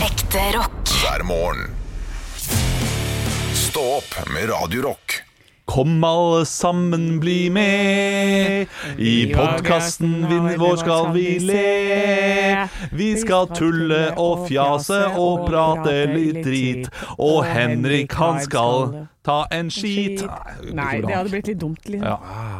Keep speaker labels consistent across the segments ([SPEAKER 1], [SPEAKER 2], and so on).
[SPEAKER 1] Ekte rock.
[SPEAKER 2] hver morgen. Stå opp med Radio Rock.
[SPEAKER 3] Kom alle sammen, bli med. I podkasten vår skal vi le. Vi skal tulle og fjase og prate litt drit. Og Henrik, han skal ta en skit.
[SPEAKER 4] Nei, det hadde blitt litt dumt. Liksom.
[SPEAKER 3] Ja.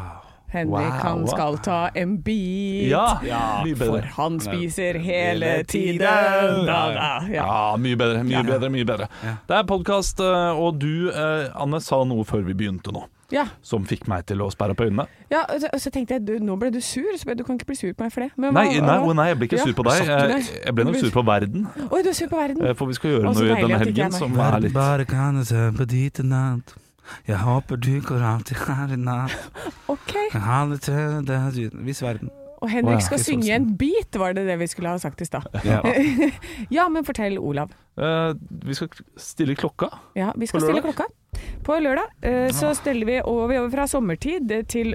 [SPEAKER 4] Henrik, han
[SPEAKER 3] Wow.
[SPEAKER 4] skal ta en bit.
[SPEAKER 3] Ja, mye
[SPEAKER 4] For
[SPEAKER 3] bedre.
[SPEAKER 4] han spiser hele tiden. Da, da. Ja.
[SPEAKER 3] Ja, mye bedre, mye bedre. mye bedre Det er podkast, og du, eh, Anne, sa noe før vi begynte nå.
[SPEAKER 4] Ja.
[SPEAKER 3] Som fikk meg til å sperre opp øynene.
[SPEAKER 4] ja, og så- og så tenkte jeg du, nå ble du sur, så ble- du kan ikke bli sur på meg for det. Men
[SPEAKER 3] Nei,
[SPEAKER 4] hva-
[SPEAKER 3] nei,
[SPEAKER 4] hva-
[SPEAKER 3] å nei, jeg ble ikke
[SPEAKER 4] Ja.
[SPEAKER 3] sur på deg.
[SPEAKER 4] Satt du
[SPEAKER 3] Jeg,
[SPEAKER 4] deg?
[SPEAKER 3] jeg ble nok sur på verden.
[SPEAKER 4] Oi, du er sur på verden.
[SPEAKER 3] Eh, For vi skal gjøre
[SPEAKER 4] Å, så
[SPEAKER 3] noe
[SPEAKER 4] deilig
[SPEAKER 3] denne
[SPEAKER 4] at det ikke
[SPEAKER 3] helgen
[SPEAKER 4] er meg.
[SPEAKER 3] som er
[SPEAKER 5] Verden
[SPEAKER 3] litt
[SPEAKER 5] bare kan det se på dit i natt. Jeg håper du går alltid her i natt.
[SPEAKER 4] Ok.
[SPEAKER 5] Kan ha det til det her uten- Vis verden.
[SPEAKER 3] Å, ja.
[SPEAKER 4] Og Henrik skal synge en bit, var det det vi skulle ha sagt i stad.
[SPEAKER 5] Ja.
[SPEAKER 4] Ja, men fortell, Olav.
[SPEAKER 3] Eh, vi skal stille klokka.
[SPEAKER 4] Ja, vi skal
[SPEAKER 3] På
[SPEAKER 4] stille
[SPEAKER 3] lørdag?
[SPEAKER 4] klokka. På lørdag eh, så steller vi over, over fra sommertid til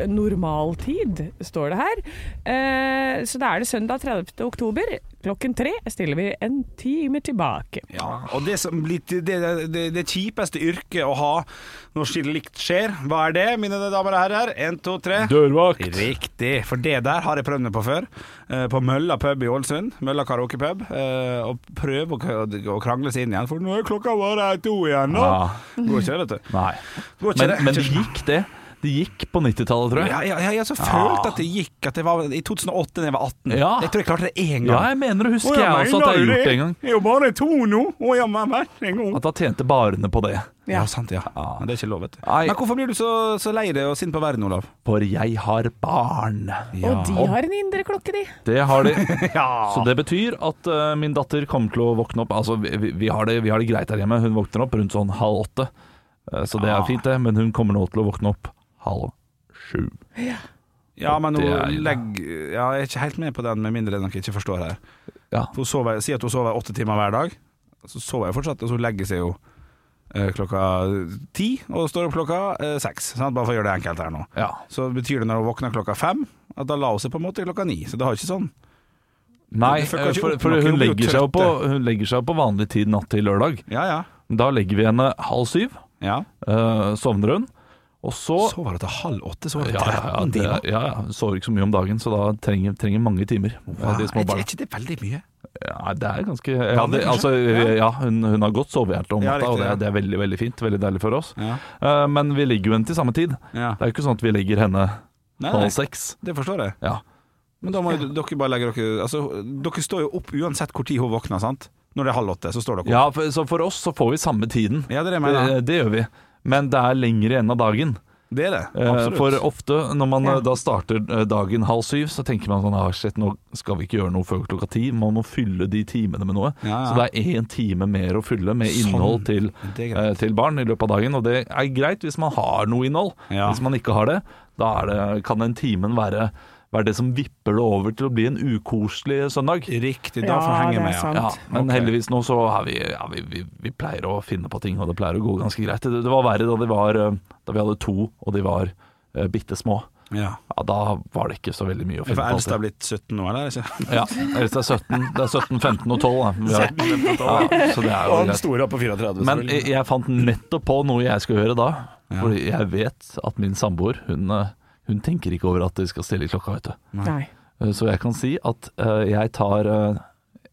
[SPEAKER 4] normaltid, står det her. Eh, så da er det søndag 30. oktober. Klokken tre stiller vi en time tilbake.
[SPEAKER 6] Ja, og det, som blir, det, det, det, det kjipeste yrket å ha når slikt skjer, hva er det, mine damer og herrer? Én, to, tre.
[SPEAKER 3] Dørvakt.
[SPEAKER 6] Riktig, for det der har jeg prøvd meg på før. Eh, På Mølla pub i Ålesund. Mølla karaokepub. eh, Og prøve å, k- å krangle seg inn igjen, for nå er klokka bare to igjen. Nå.
[SPEAKER 3] Ja,
[SPEAKER 6] Går ikke det, vet du.
[SPEAKER 3] nei.
[SPEAKER 6] Går ikke
[SPEAKER 3] Men,
[SPEAKER 6] det.
[SPEAKER 3] men det gikk, det. Det gikk på 90-tallet, tror
[SPEAKER 6] ja,
[SPEAKER 3] jeg.
[SPEAKER 6] ja, ja, jeg så følte at det gikk at det var i 2008 da jeg var 18.
[SPEAKER 3] Ja.
[SPEAKER 6] Jeg tror jeg klarte det
[SPEAKER 3] Ja,
[SPEAKER 6] én gang.
[SPEAKER 3] jeg mener å huske jeg også at jeg har gjort det en gang.
[SPEAKER 6] er jo bare to nå. Å, ja, men vær en gang.
[SPEAKER 3] At da tjente barene på det.
[SPEAKER 6] Ja, sant, ja. Men det er ikke lov, vet du.
[SPEAKER 3] Nei.
[SPEAKER 6] Men hvorfor blir du så, så lei deg og sint på verden, Olav?
[SPEAKER 3] For jeg har barn.
[SPEAKER 4] Og de har en indre klokke, de.
[SPEAKER 3] Det har de. Så det betyr at eh, min datter kommer til å våkne opp Altså, vi, vi- vi, har det, vi har det greit her hjemme. Hun våkner opp rundt sånn halv åtte. Eh, Så det
[SPEAKER 6] Ah.
[SPEAKER 3] er fint, det. Men hun kommer nå til å våkne opp halv sju.
[SPEAKER 6] Ja, men
[SPEAKER 3] Det
[SPEAKER 6] hun
[SPEAKER 3] er-
[SPEAKER 6] legg... Ja, jeg er ikke helt med på den, med mindre det er noe jeg ikke forstår her.
[SPEAKER 3] Ja.
[SPEAKER 6] For Hun sover, si at hun sover åtte timer hver dag. Så sover jeg fortsatt, og så hun legger seg jo eh, klokka ti, og står opp klokka eh, seks. sant? Bare for å gjøre det enkelt her nå.
[SPEAKER 3] ja.
[SPEAKER 6] Så betyr det når hun våkner klokka fem, at da la hun seg på en måte klokka ni. Så det har ikke sånn.
[SPEAKER 3] Nei,
[SPEAKER 6] Det fucker
[SPEAKER 3] eh,
[SPEAKER 6] ikke
[SPEAKER 3] for,
[SPEAKER 6] opp
[SPEAKER 3] for
[SPEAKER 6] nok,
[SPEAKER 3] hun,
[SPEAKER 6] hun blir jo
[SPEAKER 3] legger seg jo på,
[SPEAKER 6] trøtt,
[SPEAKER 3] hun legger seg jo på vanlig tid natt til lørdag.
[SPEAKER 6] Ja, ja.
[SPEAKER 3] Da legger vi henne halv syv,
[SPEAKER 6] ja.
[SPEAKER 3] eh, sovner hun, og så
[SPEAKER 6] Sover hun til halv åtte? Sover
[SPEAKER 3] ja,
[SPEAKER 6] hun
[SPEAKER 3] ja, ja,
[SPEAKER 6] 13
[SPEAKER 3] det,
[SPEAKER 6] timer?
[SPEAKER 3] ja, ja, hun sover ikke så mye om dagen, så da trenger, trenger mange timer. eh, De små
[SPEAKER 6] Er ikke-
[SPEAKER 3] barna.
[SPEAKER 6] er ikke det veldig mye?
[SPEAKER 3] Ja, det er ganske ja,
[SPEAKER 6] Kan
[SPEAKER 3] det,
[SPEAKER 6] det
[SPEAKER 3] altså,
[SPEAKER 6] kanskje?
[SPEAKER 3] ja, hun, hun har godt sovehjerte om
[SPEAKER 6] Ja,
[SPEAKER 3] natta, og
[SPEAKER 6] riktig,
[SPEAKER 3] det,
[SPEAKER 6] ja.
[SPEAKER 3] er- det er veldig veldig fint. Veldig deilig for oss.
[SPEAKER 6] Ja.
[SPEAKER 3] Eh, men vi legger jo henne til samme tid.
[SPEAKER 6] ja.
[SPEAKER 3] Det er jo ikke sånn at vi legger henne
[SPEAKER 6] Nei, nei,
[SPEAKER 3] halv seks.
[SPEAKER 6] det forstår jeg.
[SPEAKER 3] altså. Ja.
[SPEAKER 6] Men da må jo dere bare legge dere Altså, dere står jo opp uansett hvor tid hun våkner, sant? Når det er halv åtte, så står dere opp.
[SPEAKER 3] ja, Eh, for, så for oss så får vi samme tiden.
[SPEAKER 6] Ja, det er det jeg mener.
[SPEAKER 3] Det, det gjør vi. Men det er lenger igjen av dagen.
[SPEAKER 6] Det er det.
[SPEAKER 3] Eh,
[SPEAKER 6] Absolutt.
[SPEAKER 3] For ofte når man eh,
[SPEAKER 4] Ja.
[SPEAKER 3] da starter eh, dagen halv syv, så tenker man sånn ah, shit, nå skal vi ikke gjøre noe før klokka ti. Man må fylle de timene med noe.
[SPEAKER 6] Ja, ja.
[SPEAKER 3] Så det er én time mer å fylle med
[SPEAKER 6] Sånn.
[SPEAKER 3] innhold til,
[SPEAKER 6] Det er greit.
[SPEAKER 3] eh, til barn i løpet av dagen. Og det er greit hvis man har noe innhold.
[SPEAKER 6] Ja.
[SPEAKER 3] Hvis man ikke har det, da er det, kan den timen være, være det som vipper det over til å bli en ukoselig søndag.
[SPEAKER 6] Riktig, da får du henge med. Ja.
[SPEAKER 3] Ja, men
[SPEAKER 6] Ok.
[SPEAKER 3] heldigvis nå så har vi, ja, vi, vi, vi pleier å finne på ting, og det pleier å gå ganske greit. Det, det var verre da, de var, eh, da vi hadde to, og de var uh, bitte små.
[SPEAKER 6] ja.
[SPEAKER 3] Ja, da var det ikke så veldig mye å
[SPEAKER 6] For
[SPEAKER 3] finne på.
[SPEAKER 6] eldst er blitt 17 nå, eller? Ikke?
[SPEAKER 3] alltid. Ja, eldst er 17, det er 17, 15 og 12. Da. Vi har- Ja, så det er jo greit.
[SPEAKER 6] store på 34.
[SPEAKER 3] Men eh, jeg, jeg fant nettopp på noe jeg skal gjøre da. For jeg vet at min samboer, hun, eh, hun tenker ikke over at de skal stille klokka, vet du.
[SPEAKER 4] Nei.
[SPEAKER 3] Eh, Så jeg kan si at eh, jeg tar, eh,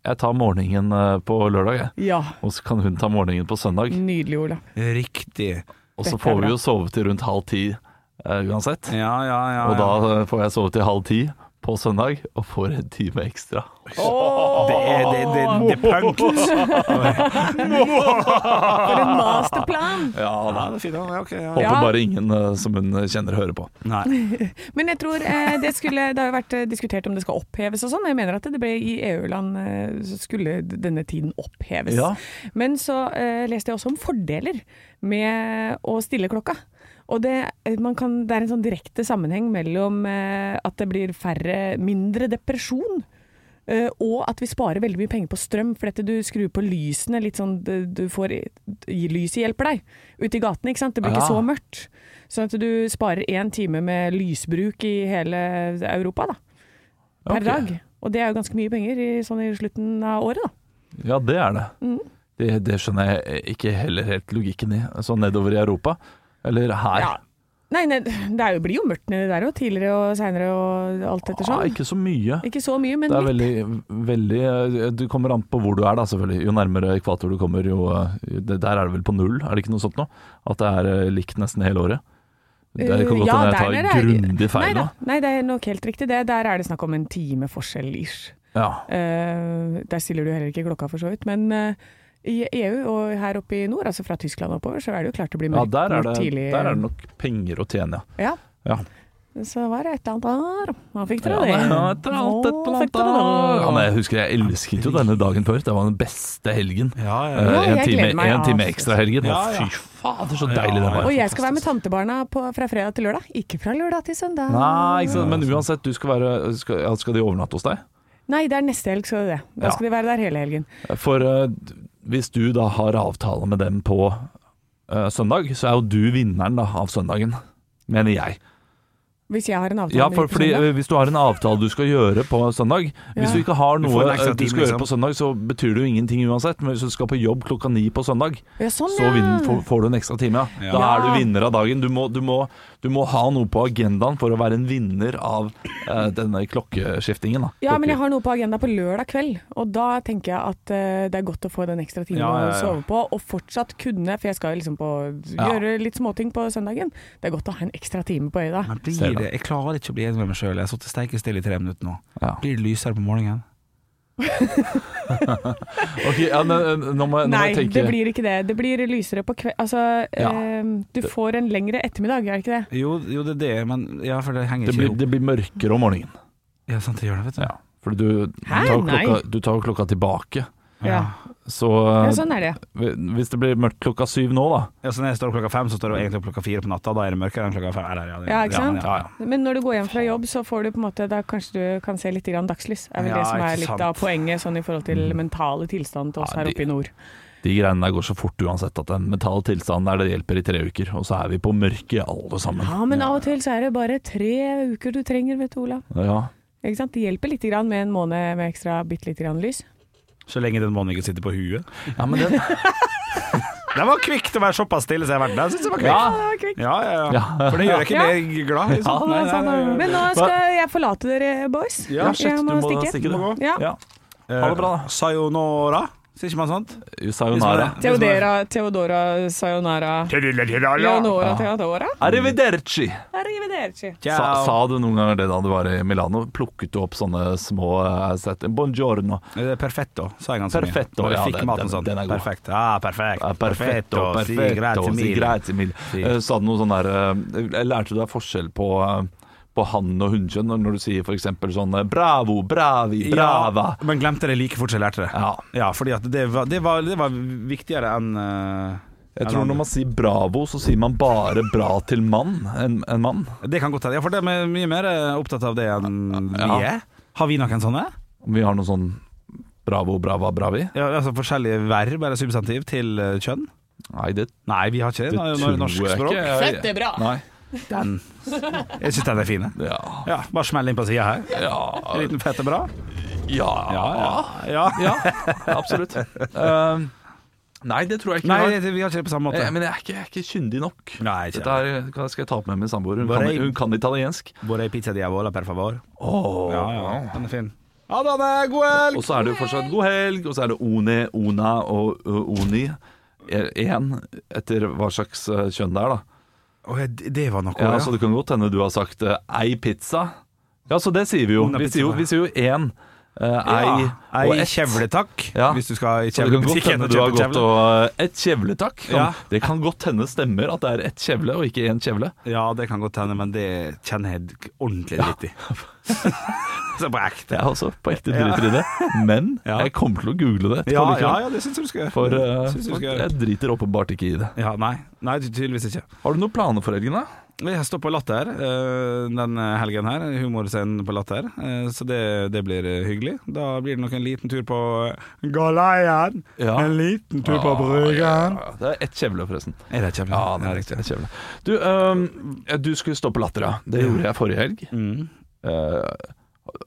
[SPEAKER 3] jeg tar morgenen eh, på lørdag, jeg.
[SPEAKER 4] Ja.
[SPEAKER 3] Og så kan hun ta morgenen på søndag.
[SPEAKER 4] Nydelig, Olav.
[SPEAKER 6] Riktig.
[SPEAKER 3] Og så
[SPEAKER 4] Dette
[SPEAKER 3] får
[SPEAKER 4] er bra.
[SPEAKER 3] vi jo sove til rundt halv ti eh, uansett.
[SPEAKER 6] Ja, ja, ja.
[SPEAKER 3] Og
[SPEAKER 6] ja.
[SPEAKER 3] da eh, får jeg sove til halv ti på søndag, og får en time ekstra.
[SPEAKER 6] Det er det, det, det, er punk.
[SPEAKER 4] For en masterplan!
[SPEAKER 3] Ja,
[SPEAKER 6] Ja, det er fint. Ja, ok, ja.
[SPEAKER 3] Håper
[SPEAKER 4] Ja.
[SPEAKER 3] bare ingen eh, som hun kjenner hører på.
[SPEAKER 6] Nei.
[SPEAKER 4] Men jeg tror eh, det skulle Det har jo vært eh, diskutert om det skal oppheves og sånn. Jeg mener at det ble i EU-land eh, så skulle denne tiden oppheves.
[SPEAKER 3] Ja.
[SPEAKER 4] Men så eh, leste jeg også om fordeler med å stille klokka. Og det, eh, man kan, det er en sånn direkte sammenheng mellom eh, at det blir færre, mindre depresjon. eh, og at vi sparer veldig mye penger på strøm, for dette du skrur på lysene litt sånn du, du får, Lyset hjelper deg ute i gatene, ikke sant? Det blir
[SPEAKER 3] Ja.
[SPEAKER 4] ikke så mørkt. Sånn at du sparer én time med lysbruk i hele Europa, da. Per
[SPEAKER 3] Ok.
[SPEAKER 4] dag. Og det er jo ganske mye penger i, sånn i slutten av året, da.
[SPEAKER 3] Ja, det er det. Det, det skjønner jeg ikke heller helt logikken i. Så nedover i Europa, eller her.
[SPEAKER 4] Ja. Nei, nei, det er jo, blir jo mørkt nedi der òg, tidligere og seinere og alt etter
[SPEAKER 3] Ah,
[SPEAKER 4] sånn.
[SPEAKER 3] ikke så mye.
[SPEAKER 4] Ikke så mye, men
[SPEAKER 3] Det er
[SPEAKER 4] litt.
[SPEAKER 3] veldig, veldig Du kommer an på hvor du er, da, selvfølgelig. Jo nærmere ekvator du kommer, jo eh, det, Der er det vel på null, er det ikke noe sånt nå? At det er eh, likt nesten hele året? Det kan
[SPEAKER 4] Eh,
[SPEAKER 3] godt
[SPEAKER 4] ja,
[SPEAKER 3] hende
[SPEAKER 4] der
[SPEAKER 3] jeg
[SPEAKER 4] nede
[SPEAKER 3] tar
[SPEAKER 4] er-
[SPEAKER 3] grundig
[SPEAKER 4] Nei
[SPEAKER 3] feil nå.
[SPEAKER 4] da, nei, det er nok helt riktig. Det, der er det snakk om en time forskjell ish.
[SPEAKER 3] Ja.
[SPEAKER 4] Eh, der stiller du heller ikke klokka, for så vidt. Men eh, i EU og her oppe i nord, altså fra Tyskland oppover, så er det jo klart det blir
[SPEAKER 3] ja,
[SPEAKER 4] mørkt
[SPEAKER 3] der er,
[SPEAKER 4] mørkt
[SPEAKER 3] det,
[SPEAKER 4] tidlig.
[SPEAKER 3] der er det nok penger å tjene, ja.
[SPEAKER 4] Ja.
[SPEAKER 3] Ja.
[SPEAKER 4] Så var det et eller annet der. Man fikk dere
[SPEAKER 3] Ja,
[SPEAKER 4] det.
[SPEAKER 3] det er et eller annet, et eller
[SPEAKER 4] Nå fikk
[SPEAKER 3] annet.
[SPEAKER 4] dere det.
[SPEAKER 3] Ja, men jeg husker jeg elsket jo denne dagen før. Det var den beste helgen.
[SPEAKER 6] Ja,
[SPEAKER 3] Eh,
[SPEAKER 6] ja.
[SPEAKER 4] Ja,
[SPEAKER 3] en
[SPEAKER 4] jeg
[SPEAKER 3] time,
[SPEAKER 4] gleder meg,
[SPEAKER 3] en
[SPEAKER 4] ja.
[SPEAKER 3] time ekstra helgen. Å,
[SPEAKER 6] Ja, ja.
[SPEAKER 3] Fy fader, så deilig det var.
[SPEAKER 4] Og jeg skal være med tantebarna på, fra fredag til lørdag, ikke fra lørdag til søndag.
[SPEAKER 3] Nei, ikke sant? men uansett, du skal, være, skal, ja, skal de overnatte hos deg?
[SPEAKER 4] Nei, det er neste helg skal det det. Da
[SPEAKER 3] Ja.
[SPEAKER 4] skal de være der hele helgen.
[SPEAKER 3] For eh, hvis du da har avtale med dem på eh, søndag, så er jo du vinneren da, av søndagen, mener jeg.
[SPEAKER 4] Hvis jeg har en avtale
[SPEAKER 3] Ja,
[SPEAKER 4] med
[SPEAKER 3] for,
[SPEAKER 4] dem på
[SPEAKER 3] fordi
[SPEAKER 4] søndag.
[SPEAKER 3] eh, Hvis du har en avtale du skal gjøre på søndag Hvis
[SPEAKER 4] Ja.
[SPEAKER 3] du ikke har
[SPEAKER 6] Du
[SPEAKER 3] noe
[SPEAKER 6] får en
[SPEAKER 3] eh,
[SPEAKER 6] ekstra
[SPEAKER 3] du
[SPEAKER 6] time,
[SPEAKER 3] skal gjøre
[SPEAKER 6] liksom.
[SPEAKER 3] på søndag, så betyr det jo ingenting uansett. Men hvis du skal på jobb klokka ni på søndag,
[SPEAKER 4] ja, sånn,
[SPEAKER 3] så
[SPEAKER 4] ja.
[SPEAKER 3] vinner, får, får du en ekstra time. Ja. Da
[SPEAKER 4] Ja.
[SPEAKER 3] er du vinner av dagen. Du må, du, må, du må ha noe på agendaen for å være en vinner av eh, denne klokkeskiftingen. Da.
[SPEAKER 4] Ja, men jeg har noe på agenda på lørdag kveld, og da tenker jeg at eh, det er godt å få den ekstra timen
[SPEAKER 6] Ja, ja, ja.
[SPEAKER 4] å sove på, og fortsatt kunne, for jeg skal jo liksom på,
[SPEAKER 3] Ja.
[SPEAKER 4] gjøre litt småting på søndagen. Det er godt å ha en ekstra time på øya.
[SPEAKER 6] Men
[SPEAKER 3] Eh,
[SPEAKER 6] eh,
[SPEAKER 3] Ser
[SPEAKER 6] blir
[SPEAKER 3] du.
[SPEAKER 6] det, jeg klarer ikke å bli enig med meg sjøl. Jeg har sittet steikestille i tre minutter nå.
[SPEAKER 3] Ja.
[SPEAKER 6] Blir det lysere på morgenen?
[SPEAKER 3] Ok, ja, men, eh, nå må, jeg- nå må
[SPEAKER 4] Nei,
[SPEAKER 3] jeg tenke
[SPEAKER 4] det blir ikke det. Det blir lysere på kveld... Altså,
[SPEAKER 3] Ja.
[SPEAKER 4] eh, du får en lengre ettermiddag, er det ikke det?
[SPEAKER 6] Jo, jo, det er det, men ja, for det henger
[SPEAKER 3] det
[SPEAKER 6] ikke
[SPEAKER 3] blir,
[SPEAKER 6] ihop.
[SPEAKER 3] det blir mørkere om morgenen.
[SPEAKER 6] Ja, sant, det gjør det, vet du.
[SPEAKER 3] Ja. Fordi du, du,
[SPEAKER 4] Hæ?
[SPEAKER 3] tar jo
[SPEAKER 4] Nei.
[SPEAKER 3] klokka, du tar jo klokka tilbake.
[SPEAKER 4] Ja.
[SPEAKER 3] Så
[SPEAKER 4] Ja,
[SPEAKER 3] eh,
[SPEAKER 4] sånn er det.
[SPEAKER 3] hvis det blir mørkt klokka syv nå, da
[SPEAKER 6] Ja, så når jeg står opp klokka fem, så står jeg egentlig opp klokka fire på natta. Da er det mørkere enn klokka fem. Eller, det-
[SPEAKER 4] Ja, ikke sant?
[SPEAKER 6] men Ja, ja.
[SPEAKER 4] Men når du går hjem fra jobb, så får du på en måte Da kanskje du kan se litt grann dagslys. Er vel
[SPEAKER 6] Ja,
[SPEAKER 4] det som
[SPEAKER 6] ikke
[SPEAKER 4] er litt
[SPEAKER 6] sant. Mm.
[SPEAKER 4] av poenget sånn i forhold til mentale tilstand til oss
[SPEAKER 3] Ja,
[SPEAKER 4] her
[SPEAKER 3] de-
[SPEAKER 4] oppe i nord.
[SPEAKER 3] De greiene der går så fort uansett at den mentale tilstanden der det hjelper i tre uker. Og så er vi på mørket alle sammen.
[SPEAKER 4] Ja, men av og til så er det bare tre uker du trenger, vet du, Olav.
[SPEAKER 3] Ja.
[SPEAKER 4] Ikke sant? Det hjelper lite grann med en måned med ekstra bitte lite grann lys.
[SPEAKER 6] Så lenge den månen ikke sitter på huet.
[SPEAKER 3] ja, men den
[SPEAKER 6] Den var kvikk til å være såpass stille som jeg har vært. Den synes jeg var kvikk.
[SPEAKER 3] Ja.
[SPEAKER 6] Ja, ja, ja.
[SPEAKER 3] Ja.
[SPEAKER 6] For det gjør ikke
[SPEAKER 4] Ja.
[SPEAKER 6] mer glad. Liksom.
[SPEAKER 3] Ja, det er sant, det er-
[SPEAKER 4] Men nå skal jeg forlate dere, boys.
[SPEAKER 3] Sånn, Ja, shit,
[SPEAKER 4] jeg
[SPEAKER 3] du må stikke, du.
[SPEAKER 6] Må gå.
[SPEAKER 4] Ja.
[SPEAKER 3] Ja. Ha det bra, da.
[SPEAKER 6] Eh, Sayonara, sier ikke man sånt?
[SPEAKER 3] Sayonara.
[SPEAKER 4] Theodora, Theodora, sayonara, Leonora, Theodora.
[SPEAKER 3] Arrivederci!
[SPEAKER 4] Arrivederci.
[SPEAKER 3] Sa, sa du noen ganger det da du var i Milano? Plukket du opp sånne små eh, sett Buongiorno.
[SPEAKER 6] Eh, Perfetto, sa jeg ganske
[SPEAKER 3] Perfetto,
[SPEAKER 6] mye. Når jeg
[SPEAKER 3] ja,
[SPEAKER 6] fikk
[SPEAKER 3] den-
[SPEAKER 6] maten
[SPEAKER 3] den-
[SPEAKER 6] sånn.
[SPEAKER 3] den er god.
[SPEAKER 6] Perfekt. Ah, perfekt.
[SPEAKER 3] Eh, Perfetto,
[SPEAKER 6] si
[SPEAKER 3] perfetto,
[SPEAKER 6] grazie
[SPEAKER 3] si
[SPEAKER 6] mille.
[SPEAKER 3] grazie mille.
[SPEAKER 6] Si.
[SPEAKER 3] Eh, Sa du noe sånn der eh, eh, Lærte du deg forskjell på eh, på han og hunnkjønn, når- når du sier f.eks. sånn eh, bravo, bravi, brava.
[SPEAKER 6] Ja, men glemte det like fort som jeg lærte det.
[SPEAKER 3] Ja.
[SPEAKER 6] fordi at det var, det var, det var viktigere enn eh,
[SPEAKER 3] Jeg
[SPEAKER 6] enn
[SPEAKER 3] tror når
[SPEAKER 6] andre.
[SPEAKER 3] man sier bravo, så sier man bare bra til mann. En, en mann.
[SPEAKER 6] Det kan godt hende. Ja, for de er mye mer eh, opptatt av det enn
[SPEAKER 3] Ja.
[SPEAKER 6] vi er. Har vi noen sånne?
[SPEAKER 3] Om vi har noe sånn bravo, brava, bravi?
[SPEAKER 6] Ja, altså forskjellige verb eller substantiv til eh, kjønn?
[SPEAKER 3] Nei, det,
[SPEAKER 6] Nei, vi har ikke det.
[SPEAKER 3] det
[SPEAKER 6] Nå- nå er
[SPEAKER 3] tror
[SPEAKER 6] det norsk
[SPEAKER 3] jeg
[SPEAKER 6] språk.
[SPEAKER 3] ikke. Jeg-
[SPEAKER 4] Fette bra.
[SPEAKER 3] Nei.
[SPEAKER 6] Den. Jeg syns den er fin. jeg.
[SPEAKER 3] Ja.
[SPEAKER 6] Ja, bare smell inn på sida her.
[SPEAKER 3] Ja.
[SPEAKER 6] En liten fette bra. Ja,
[SPEAKER 3] ja.
[SPEAKER 6] ja.
[SPEAKER 3] Ja, absolutt. Ehm, nei, det tror jeg ikke.
[SPEAKER 6] Nei,
[SPEAKER 3] vi har.
[SPEAKER 6] det- vi har ikke det på samme måte.
[SPEAKER 3] Eh, men jeg er ikke, jeg er ikke kyndig nok.
[SPEAKER 6] Nei, ikke
[SPEAKER 3] Dette her kan- skal jeg ta opp med min samboer. Hun,
[SPEAKER 6] Bare
[SPEAKER 3] kan,
[SPEAKER 6] i-
[SPEAKER 3] hun kan italiensk.
[SPEAKER 6] Vorrei pizza diavola, per favor.
[SPEAKER 3] Åh.
[SPEAKER 6] Ja, ja, den er fin. Ja, den er god helg!
[SPEAKER 3] Og så er det jo fortsatt god helg, og så er det one, ona og ø, oni. Én etter hva slags eh, kjønn det er, da.
[SPEAKER 6] Å, ja, det det var noe,
[SPEAKER 3] Ja,
[SPEAKER 6] ja.
[SPEAKER 3] Så det kan godt hende du har sagt eh, ei pizza. Ja, så det sier vi jo.
[SPEAKER 6] Una
[SPEAKER 3] Vi
[SPEAKER 6] pizza.
[SPEAKER 3] sier jo, vi sier jo én, eh, ei
[SPEAKER 6] Ei,
[SPEAKER 3] og
[SPEAKER 6] ei
[SPEAKER 3] ett.
[SPEAKER 6] kjevle, takk.
[SPEAKER 3] Ja.
[SPEAKER 6] Hvis du skal i
[SPEAKER 3] Så det kan godt
[SPEAKER 6] kjevlebutikken
[SPEAKER 3] hende
[SPEAKER 6] og
[SPEAKER 3] du har
[SPEAKER 6] kjøpe
[SPEAKER 3] gått
[SPEAKER 6] kjevle.
[SPEAKER 3] og eh, Et kjevle, takk. Kan,
[SPEAKER 6] Ja.
[SPEAKER 3] Det kan godt hende stemmer at det er ett kjevle og ikke én kjevle.
[SPEAKER 6] Ja, det kan godt hende, men det kjenner jeg d- ordentlig dritt i. så på ekte.
[SPEAKER 3] Jeg er også på ekte driter i det. Men
[SPEAKER 6] Ja.
[SPEAKER 3] jeg kommer til å google det.
[SPEAKER 6] Ja,
[SPEAKER 3] etterpå
[SPEAKER 6] ja,
[SPEAKER 3] likevel.
[SPEAKER 6] ja, det syns jeg du skal gjøre.
[SPEAKER 3] For eh,
[SPEAKER 6] Synes jeg du skal gjøre.
[SPEAKER 3] jeg driter åpenbart ikke i det.
[SPEAKER 6] Ja, nei. nei, ty- tydeligvis ikke.
[SPEAKER 3] Har du noen planer for helgen, da?
[SPEAKER 6] Jeg står på Latter eh, denne helgen her, humorscenen på Latter, eh, så det, det blir eh, hyggelig. Da blir det nok en liten tur på Galeien,
[SPEAKER 3] Ja. Ah,
[SPEAKER 6] en liten tur på Bryggen.
[SPEAKER 3] Ja, Det er ett kjevle, forresten.
[SPEAKER 6] Er det kjempe?
[SPEAKER 3] Ja, det er riktig. Ett kjevle. Du, eh, du skulle stå på Latter, ja. Det gjorde jeg forrige helg.
[SPEAKER 6] Mm.
[SPEAKER 3] Eh,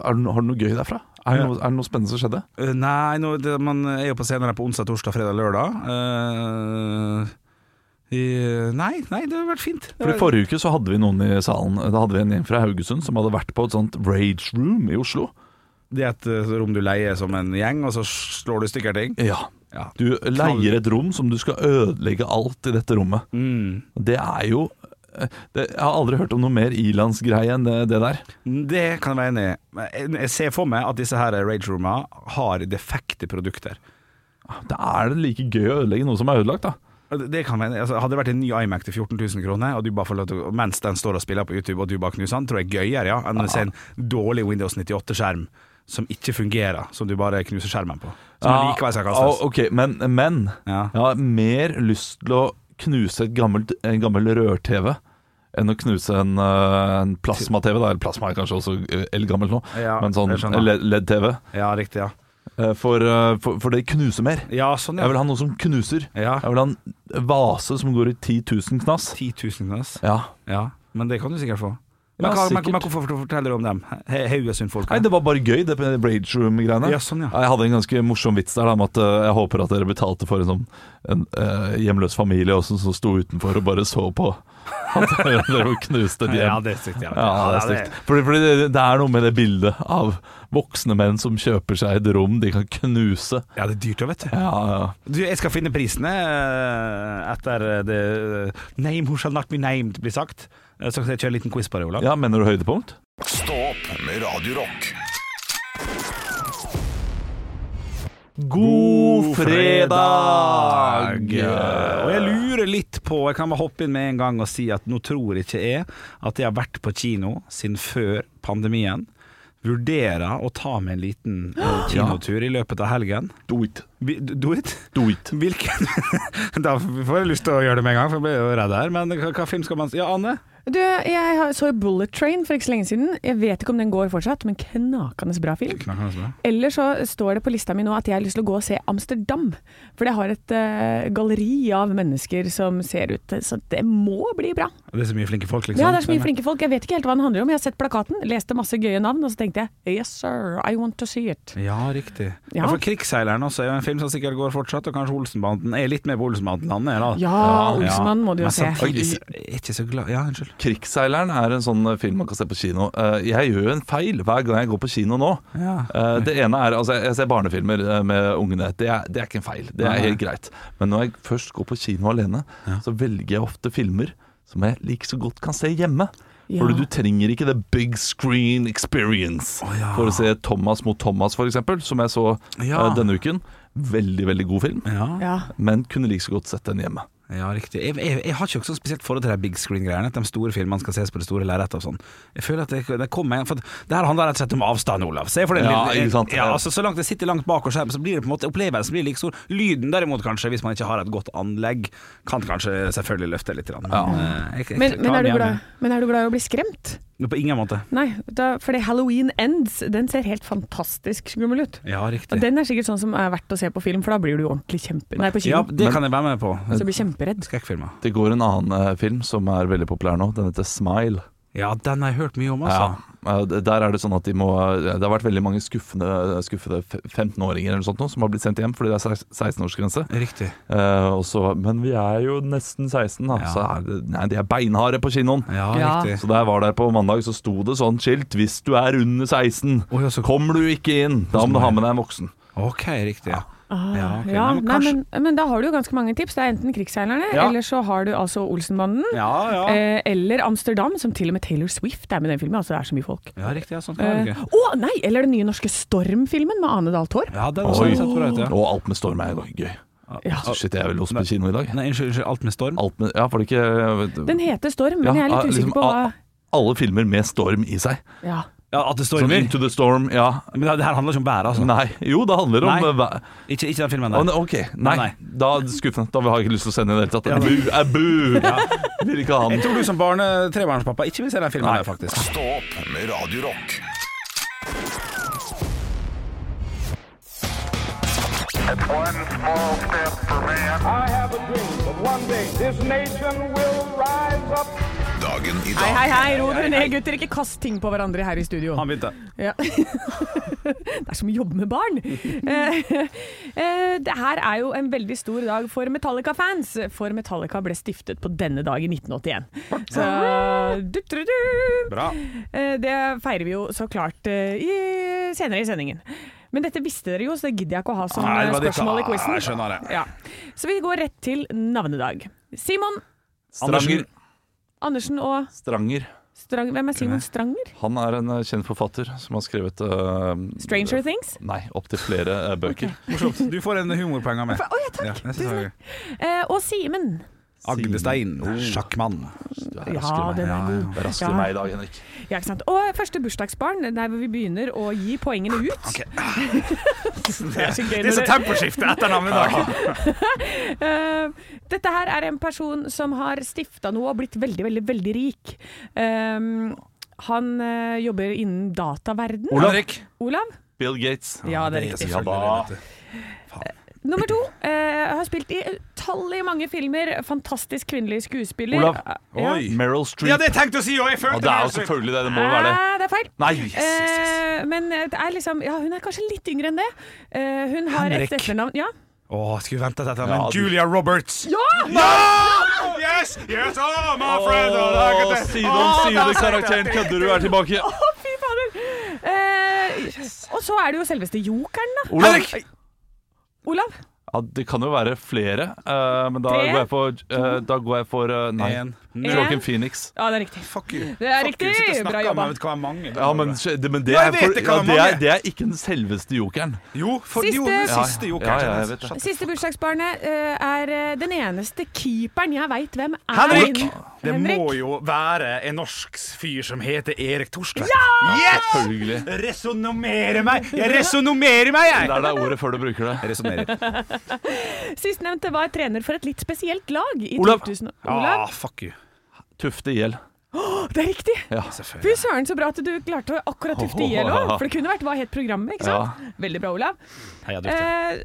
[SPEAKER 3] har, du, no- har du noe gøy derfra? Er det noe, er det noe spennende som skjedde?
[SPEAKER 6] Eh, Nei, nå, det, man er jo på scenen her på onsdag, torsdag, fredag, lørdag. Eh, i, nei, nei, det har vært fint. Det
[SPEAKER 3] For I
[SPEAKER 6] har-
[SPEAKER 3] forrige uke så hadde vi noen i salen. Da hadde vi en gjeng fra Haugesund som hadde vært på et sånt rage room i Oslo.
[SPEAKER 6] Det er et eh, rom du leier som en gjeng, og så slår du i stykker ting.
[SPEAKER 3] Ja.
[SPEAKER 6] Ja.
[SPEAKER 3] Du leier et rom som du skal ødelegge alt i dette rommet.
[SPEAKER 6] Mm.
[SPEAKER 3] Det er jo eh, det, Jeg har aldri hørt om noe mer ilandsgreie enn det, det der.
[SPEAKER 6] Det kan jeg være enig i. Men jeg- Jeg ser for meg at disse her rage-roomene har defekte produkter.
[SPEAKER 3] Da er det like gøy å ødelegge noe som er ødelagt, da.
[SPEAKER 6] Det det kan være, enig i. altså, hadde det vært en ny iMac til 14 000 kroner, og du bare får lov til, å- mens den står og spiller på YouTube, og du bare knuser den, tror jeg er gøyere ja, enn å se en dårlig Windows 98-skjerm som ikke fungerer, som du bare knuser skjermen på. Som likevel skal kastes.
[SPEAKER 3] ah, ok, men, men
[SPEAKER 6] Ja.
[SPEAKER 3] jeg har mer lyst til å knuse et gammelt, en gammel rør-TV enn å knuse en, eh, en plasma-TV. da. Eller Plasma er kanskje også eh, eldgammelt nå,
[SPEAKER 6] Ja,
[SPEAKER 3] men sånn
[SPEAKER 6] jeg skjønner.
[SPEAKER 3] LED-TV.
[SPEAKER 6] ja, riktig, ja.
[SPEAKER 3] For, eh, for, for det knuser mer.
[SPEAKER 6] Ja, sånn,
[SPEAKER 3] Jeg vil
[SPEAKER 6] ja.
[SPEAKER 3] ha noe som knuser.
[SPEAKER 6] ja.
[SPEAKER 3] Jeg vil ha en vase som går i 10 000 knass.
[SPEAKER 6] 10 000 kroner.
[SPEAKER 3] Ja.
[SPEAKER 6] Ja, men det kan du sikkert få.
[SPEAKER 3] Ja,
[SPEAKER 6] Men, hva-
[SPEAKER 3] sikkert.
[SPEAKER 6] men, men hvorfor forteller du om dem? He- Haugesund-folka?
[SPEAKER 3] Nei, det var bare gøy, det Rage Room-greiene.
[SPEAKER 6] Ja, sånn, ja.
[SPEAKER 3] Jeg hadde en ganske morsom vits der da, om at eh, jeg håper at dere betalte for en, sånn, en eh, hjemløs familie også, som sto utenfor og bare så på at dere knuste et hjem.
[SPEAKER 6] Ja, det er stygt. Ja,
[SPEAKER 3] Ja, det er stygt. Fordi, fordi det, det er noe med det bildet av voksne menn som kjøper seg et rom de kan knuse.
[SPEAKER 6] Ja, det er dyrt òg, vet du.
[SPEAKER 3] Ja, ja.
[SPEAKER 6] du. Jeg skal finne prisene eh, etter det Name who shall not be named blir sagt. Eh, Så skal jeg kjøre en liten quiz på det, Olav.
[SPEAKER 3] ja, mener du høydepunkt?
[SPEAKER 2] Stå opp med Radio Rock.
[SPEAKER 3] God fredag!
[SPEAKER 6] Og jeg lurer litt på Jeg kan bare hoppe inn med en gang og si at nå tror ikke jeg at jeg har vært på kino siden før pandemien. Vurderer å ta meg en liten eh, kinotur i løpet av helgen.
[SPEAKER 3] Do it.
[SPEAKER 6] Vi- Do it.
[SPEAKER 3] Do it.
[SPEAKER 6] Hvilken Da får jeg lyst til å gjøre det med en gang, for jeg ble jo redd her. Men hva, hva film skal man Ja, Anne?
[SPEAKER 4] Du, jeg har- så Bullet Train for ikke så lenge siden. Jeg vet ikke om den går fortsatt, men knakende bra film. Eller så står det på lista mi nå at jeg har lyst til å gå og se Amsterdam. For jeg har et eh, galleri av mennesker som ser ut til- Så det må bli bra.
[SPEAKER 6] Det er så mye flinke folk, liksom.
[SPEAKER 4] Ja, det er så mye flinke folk. Jeg vet ikke eh, helt hva den handler om. Jeg har sett plakaten, leste masse gøye navn, og så tenkte jeg Yes sir, I want to see it.
[SPEAKER 6] Ja, riktig.
[SPEAKER 4] Ja.
[SPEAKER 6] Ja. For 'Krigsseileren' også er jo en film som sikkert går fortsatt, og kanskje 'Olsenbanden'. Jeg er litt med på 'Olsenbanden', Anne. jeg, Da.
[SPEAKER 4] Ja, Olsenbanden må du jo
[SPEAKER 6] Men
[SPEAKER 4] se.
[SPEAKER 6] samtidig så er jeg ikke så glad Ja, unnskyld.
[SPEAKER 3] Krigsseileren er en sånn film man kan se på kino. Eh, Jeg gjør jo en feil hver gang jeg går på kino nå.
[SPEAKER 6] Ja.
[SPEAKER 3] Eh, Det ene er, altså Jeg jeg ser barnefilmer eh, med ungene. Det er, det er ikke en feil. Det
[SPEAKER 6] Nei,
[SPEAKER 3] er
[SPEAKER 6] nei.
[SPEAKER 3] helt greit. Men når jeg først går på kino alene, så velger jeg ofte filmer som jeg like så godt kan se hjemme.
[SPEAKER 4] Ja.
[SPEAKER 3] Fordi du trenger ikke the big screen experience for å se Thomas mot Thomas, f.eks., som jeg så eh,
[SPEAKER 6] Ja.
[SPEAKER 3] denne uken. Veldig, veldig god film,
[SPEAKER 6] Ja.
[SPEAKER 4] Ja.
[SPEAKER 3] men kunne like så godt sett den hjemme.
[SPEAKER 6] ja, riktig. Jeg, jeg, jeg har ikke så spesielt forhold til de big screen-greiene. At de store filmene skal ses på det store lerretet og sånn. Jeg føler at det, det kommer For det her handler rett og slett om avstand, Olav. Se for den
[SPEAKER 3] Ja,
[SPEAKER 6] lille-
[SPEAKER 3] ikke sant.
[SPEAKER 6] Ja, altså, så langt jeg sitter langt bak og skjermen, så blir det på en måte opplevelsen blir like stor. Lyden derimot, kanskje, hvis man ikke har et godt anlegg, kan kanskje selvfølgelig løfte litt. grann.
[SPEAKER 3] Ja.
[SPEAKER 6] Men, eh, jeg- jeg
[SPEAKER 4] Men, men,
[SPEAKER 6] klarer
[SPEAKER 4] er du
[SPEAKER 6] meg
[SPEAKER 4] glad,
[SPEAKER 6] gjerne.
[SPEAKER 4] men er du glad i å bli skremt?
[SPEAKER 6] På ingen måte.
[SPEAKER 4] Nei, da, fordi Halloween Ends, den ser helt fantastisk skummel ut.
[SPEAKER 6] Ja, riktig.
[SPEAKER 4] Og den er sikkert sånn som er verdt å se på film, for da blir du ordentlig kjempe... Nei, på
[SPEAKER 6] Ja,
[SPEAKER 4] kino.
[SPEAKER 6] det kan jeg være med på.
[SPEAKER 4] Så du blir kjemperedd.
[SPEAKER 6] Skrekkfilmer.
[SPEAKER 3] Det går en annen eh, film som er veldig populær nå. Den heter Smile.
[SPEAKER 6] Ja, den har jeg hørt mye om, altså.
[SPEAKER 3] Ja. Eh, Der er det sånn at de må Det har vært veldig mange skuffende, skuffede fe- 15-åringer eller noe sånt nå, som har blitt sendt hjem fordi det er seks- 16-årsgrense.
[SPEAKER 6] Riktig.
[SPEAKER 3] Eh, og så- men vi er jo nesten 16, da.
[SPEAKER 6] Ja.
[SPEAKER 3] Så er det, nei, de er beinharde på kinoen.
[SPEAKER 6] Ja,
[SPEAKER 4] Ja.
[SPEAKER 6] riktig.
[SPEAKER 3] Så da jeg var der på mandag, så sto det sånn skilt 'Hvis du er under 16,
[SPEAKER 6] Oi, altså,
[SPEAKER 3] kommer du ikke inn'. Da må du ha med deg en voksen.
[SPEAKER 6] Ok, riktig. Ja.
[SPEAKER 4] Ah,
[SPEAKER 6] Ja, ok.
[SPEAKER 4] ja,
[SPEAKER 6] Nei, men
[SPEAKER 4] nei,
[SPEAKER 6] kanskje-
[SPEAKER 4] men, men da har du jo ganske mange tips. Det er enten Krigsseilerne,
[SPEAKER 6] Ja.
[SPEAKER 4] eller så har du altså Olsenbanden.
[SPEAKER 6] Ja, ja.
[SPEAKER 4] Eh, eller Amsterdam, som til og med Taylor Swift er med i den filmen. Altså det er så mye folk. Eh,
[SPEAKER 6] Ja, riktig. Ja, sånn
[SPEAKER 4] Å
[SPEAKER 6] kan jeg ikke.
[SPEAKER 4] nei! Eller den nye norske Storm-filmen med Ane Dahl Torp.
[SPEAKER 6] Ja, den
[SPEAKER 3] Oi.
[SPEAKER 6] har jeg sett på deg, ja.
[SPEAKER 3] Og alt med storm er jo gøy.
[SPEAKER 4] Ja.
[SPEAKER 3] Shit, jeg vil også på kino i dag.
[SPEAKER 6] Nei, unnskyld, unnskyld, alt med storm.
[SPEAKER 3] Alt med, ja, var det ikke
[SPEAKER 4] Den heter Storm, men
[SPEAKER 3] Ja,
[SPEAKER 4] jeg er litt
[SPEAKER 3] ah,
[SPEAKER 4] usikker
[SPEAKER 3] liksom,
[SPEAKER 4] på hva
[SPEAKER 3] ah, Alle filmer med storm i seg.
[SPEAKER 4] ja.
[SPEAKER 6] Ja, at det
[SPEAKER 3] Sånn
[SPEAKER 6] stormer.
[SPEAKER 3] Into the Storm, ja.
[SPEAKER 6] Men det her handler ikke om været, altså.
[SPEAKER 3] Nei. Jo, det handler om
[SPEAKER 6] Nei.
[SPEAKER 3] eh, vær.
[SPEAKER 6] Ikke, ikke den filmen
[SPEAKER 3] Å,
[SPEAKER 6] der.
[SPEAKER 3] ne- ok, nei,
[SPEAKER 6] Nei,
[SPEAKER 3] da er det skuffende. Da har jeg ikke lyst til å sende i det hele tatt. Abu, abu! Vil ikke ha den.
[SPEAKER 6] Jeg tror du som barne trebarnspappa ikke vil se den filmen
[SPEAKER 3] Nei.
[SPEAKER 6] der, faktisk.
[SPEAKER 2] Stå opp med Radio Rock.
[SPEAKER 1] One small step for man.
[SPEAKER 7] I have a dream that one day this nation will rise up.
[SPEAKER 2] Dagen i
[SPEAKER 4] Hei,
[SPEAKER 2] dag.
[SPEAKER 4] hei, hei, ro dere ned, gutter. Ikke kast ting på hverandre her i studio.
[SPEAKER 6] Han begynte.
[SPEAKER 4] Ja. det er som å jobbe med barn. Eh, eh, det her er jo en veldig stor dag for Metallica-fans, for Metallica ble stiftet på denne dag i 1981. Så du-tru-du.
[SPEAKER 6] Bra.
[SPEAKER 4] Eh, Det feirer vi jo så klart eh, i, senere i sendingen. Men dette visste dere jo, så det gidder jeg ikke å ha som
[SPEAKER 6] Nei, det var
[SPEAKER 4] eh,
[SPEAKER 6] ditt-
[SPEAKER 4] spørsmål i
[SPEAKER 6] Ah,
[SPEAKER 4] quizen.
[SPEAKER 6] jeg skjønner det.
[SPEAKER 4] Ja. Så vi går rett til navnedag. Simon
[SPEAKER 3] Stranger.
[SPEAKER 4] Andersen og
[SPEAKER 3] Stranger.
[SPEAKER 4] Strang... Hvem er Simon Stranger?
[SPEAKER 3] Han er en eh, kjent forfatter som har skrevet eh,
[SPEAKER 4] Stranger Things?
[SPEAKER 3] Nei, opptil flere eh, bøker.
[SPEAKER 6] Morsomt. Du får en humorpoeng av meg.
[SPEAKER 4] Å ja, takk!
[SPEAKER 6] Ja, neste sak.
[SPEAKER 4] Eh, og Simen.
[SPEAKER 6] Agdestein.
[SPEAKER 3] Oh.
[SPEAKER 6] Sjakkmann.
[SPEAKER 3] Du er
[SPEAKER 4] Ja,
[SPEAKER 3] raskere enn meg.
[SPEAKER 4] den er god.
[SPEAKER 3] Du er raskere
[SPEAKER 4] Ja.
[SPEAKER 3] enn meg i dag, Henrik.
[SPEAKER 4] Ja, ikke sant? Og første bursdagsbarn, der hvor vi begynner å gi poengene ut. det er så gøy
[SPEAKER 6] Det er
[SPEAKER 4] når
[SPEAKER 6] så
[SPEAKER 4] det,
[SPEAKER 6] temposkifte etter navnedag.
[SPEAKER 4] Eh, Dette her er en person som har stifta noe og blitt veldig, veldig, veldig rik. Eh, han eh, jobber innen dataverden.
[SPEAKER 6] Henrik.
[SPEAKER 4] Olav?
[SPEAKER 3] Bill Gates.
[SPEAKER 4] Ja, det er riktig.
[SPEAKER 3] Ja da.
[SPEAKER 4] Nummer to. eh, har spilt i utallige mange filmer. Fantastisk kvinnelig skuespiller.
[SPEAKER 3] Olav.
[SPEAKER 4] Ja.
[SPEAKER 3] Meryl Streep.
[SPEAKER 6] Ja, det tenkte jeg å si òg!
[SPEAKER 3] Ja,
[SPEAKER 6] Jeg følte
[SPEAKER 3] det er jo
[SPEAKER 6] også.
[SPEAKER 3] selvfølgelig det. Det må jo være det.
[SPEAKER 4] Eh, det er feil.
[SPEAKER 3] Nei, yes, yes, yes.
[SPEAKER 4] Eh, men det er liksom Ja, hun er kanskje litt yngre enn det. Eh, hun har
[SPEAKER 6] Henrik.
[SPEAKER 4] et etternavn Ja!
[SPEAKER 6] Å, skulle vente til etter.
[SPEAKER 3] Ja,
[SPEAKER 6] Men
[SPEAKER 3] du-
[SPEAKER 6] Julia Roberts.
[SPEAKER 4] ja!
[SPEAKER 6] Ja! Yes! Yes, oh,
[SPEAKER 4] Eh,
[SPEAKER 6] my friend! Oh, look at
[SPEAKER 3] Åh,
[SPEAKER 6] that.
[SPEAKER 3] Side om
[SPEAKER 6] Oh,
[SPEAKER 3] side,
[SPEAKER 6] that's
[SPEAKER 3] karakteren
[SPEAKER 6] it.
[SPEAKER 3] kødder du er tilbake.
[SPEAKER 4] Å, fy fader! Eh, Og så er det jo selveste jokeren, da.
[SPEAKER 3] Olav.
[SPEAKER 6] Henrik!
[SPEAKER 4] Olav.
[SPEAKER 3] Ja, det kan jo være flere, eh, men da
[SPEAKER 4] Tre,
[SPEAKER 3] går jeg for, eh, da går jeg for eh, Nei.
[SPEAKER 6] En.
[SPEAKER 3] Joaquin Phoenix.
[SPEAKER 4] Ja, det er riktig.
[SPEAKER 6] Fuck you.
[SPEAKER 4] Det er
[SPEAKER 6] Fuck you,
[SPEAKER 4] riktig!
[SPEAKER 6] sitter og snakker
[SPEAKER 4] Bra
[SPEAKER 6] om
[SPEAKER 4] jobba.
[SPEAKER 6] jeg vet hva er mange.
[SPEAKER 3] Ja, men, skje- det- men det,
[SPEAKER 6] Nå, jeg
[SPEAKER 3] er for,
[SPEAKER 6] vet det
[SPEAKER 3] ja,
[SPEAKER 6] kan
[SPEAKER 3] det,
[SPEAKER 6] være
[SPEAKER 3] er,
[SPEAKER 6] mange.
[SPEAKER 3] det er ikke den selveste jokeren.
[SPEAKER 6] Jo, for
[SPEAKER 4] Siste-
[SPEAKER 6] jo, den
[SPEAKER 3] Ja,
[SPEAKER 6] siste
[SPEAKER 3] ja, ja,
[SPEAKER 6] jokeren.
[SPEAKER 3] jeg vet det.
[SPEAKER 4] Siste bursdagsbarnet eh, er eh, den eneste keeperen jeg veit hvem er.
[SPEAKER 6] Henrik! Det
[SPEAKER 4] Henrik.
[SPEAKER 6] må jo være en norsk fyr som heter Erik Thorstvedt. Yes!
[SPEAKER 3] Selvfølgelig.
[SPEAKER 6] Resonnerer meg! Jeg resonnerer meg,
[SPEAKER 3] Det
[SPEAKER 6] jeg!
[SPEAKER 3] er det ordet før du bruker det.
[SPEAKER 6] Jeg resonnerer.
[SPEAKER 4] Sistnevnte var trener for et litt spesielt lag i
[SPEAKER 3] Olav.
[SPEAKER 4] 2000.
[SPEAKER 6] Ah,
[SPEAKER 4] Olav.
[SPEAKER 6] fuck you.
[SPEAKER 3] Tufte i hjel.
[SPEAKER 4] Det er riktig!
[SPEAKER 3] Ja.
[SPEAKER 4] Fy søren, så bra at du klarte å akkurat tufte i hjel òg. For det kunne vært hva het programmet, ikke sant? Veldig bra, Olav.
[SPEAKER 6] Heia Dufte.
[SPEAKER 4] Eh,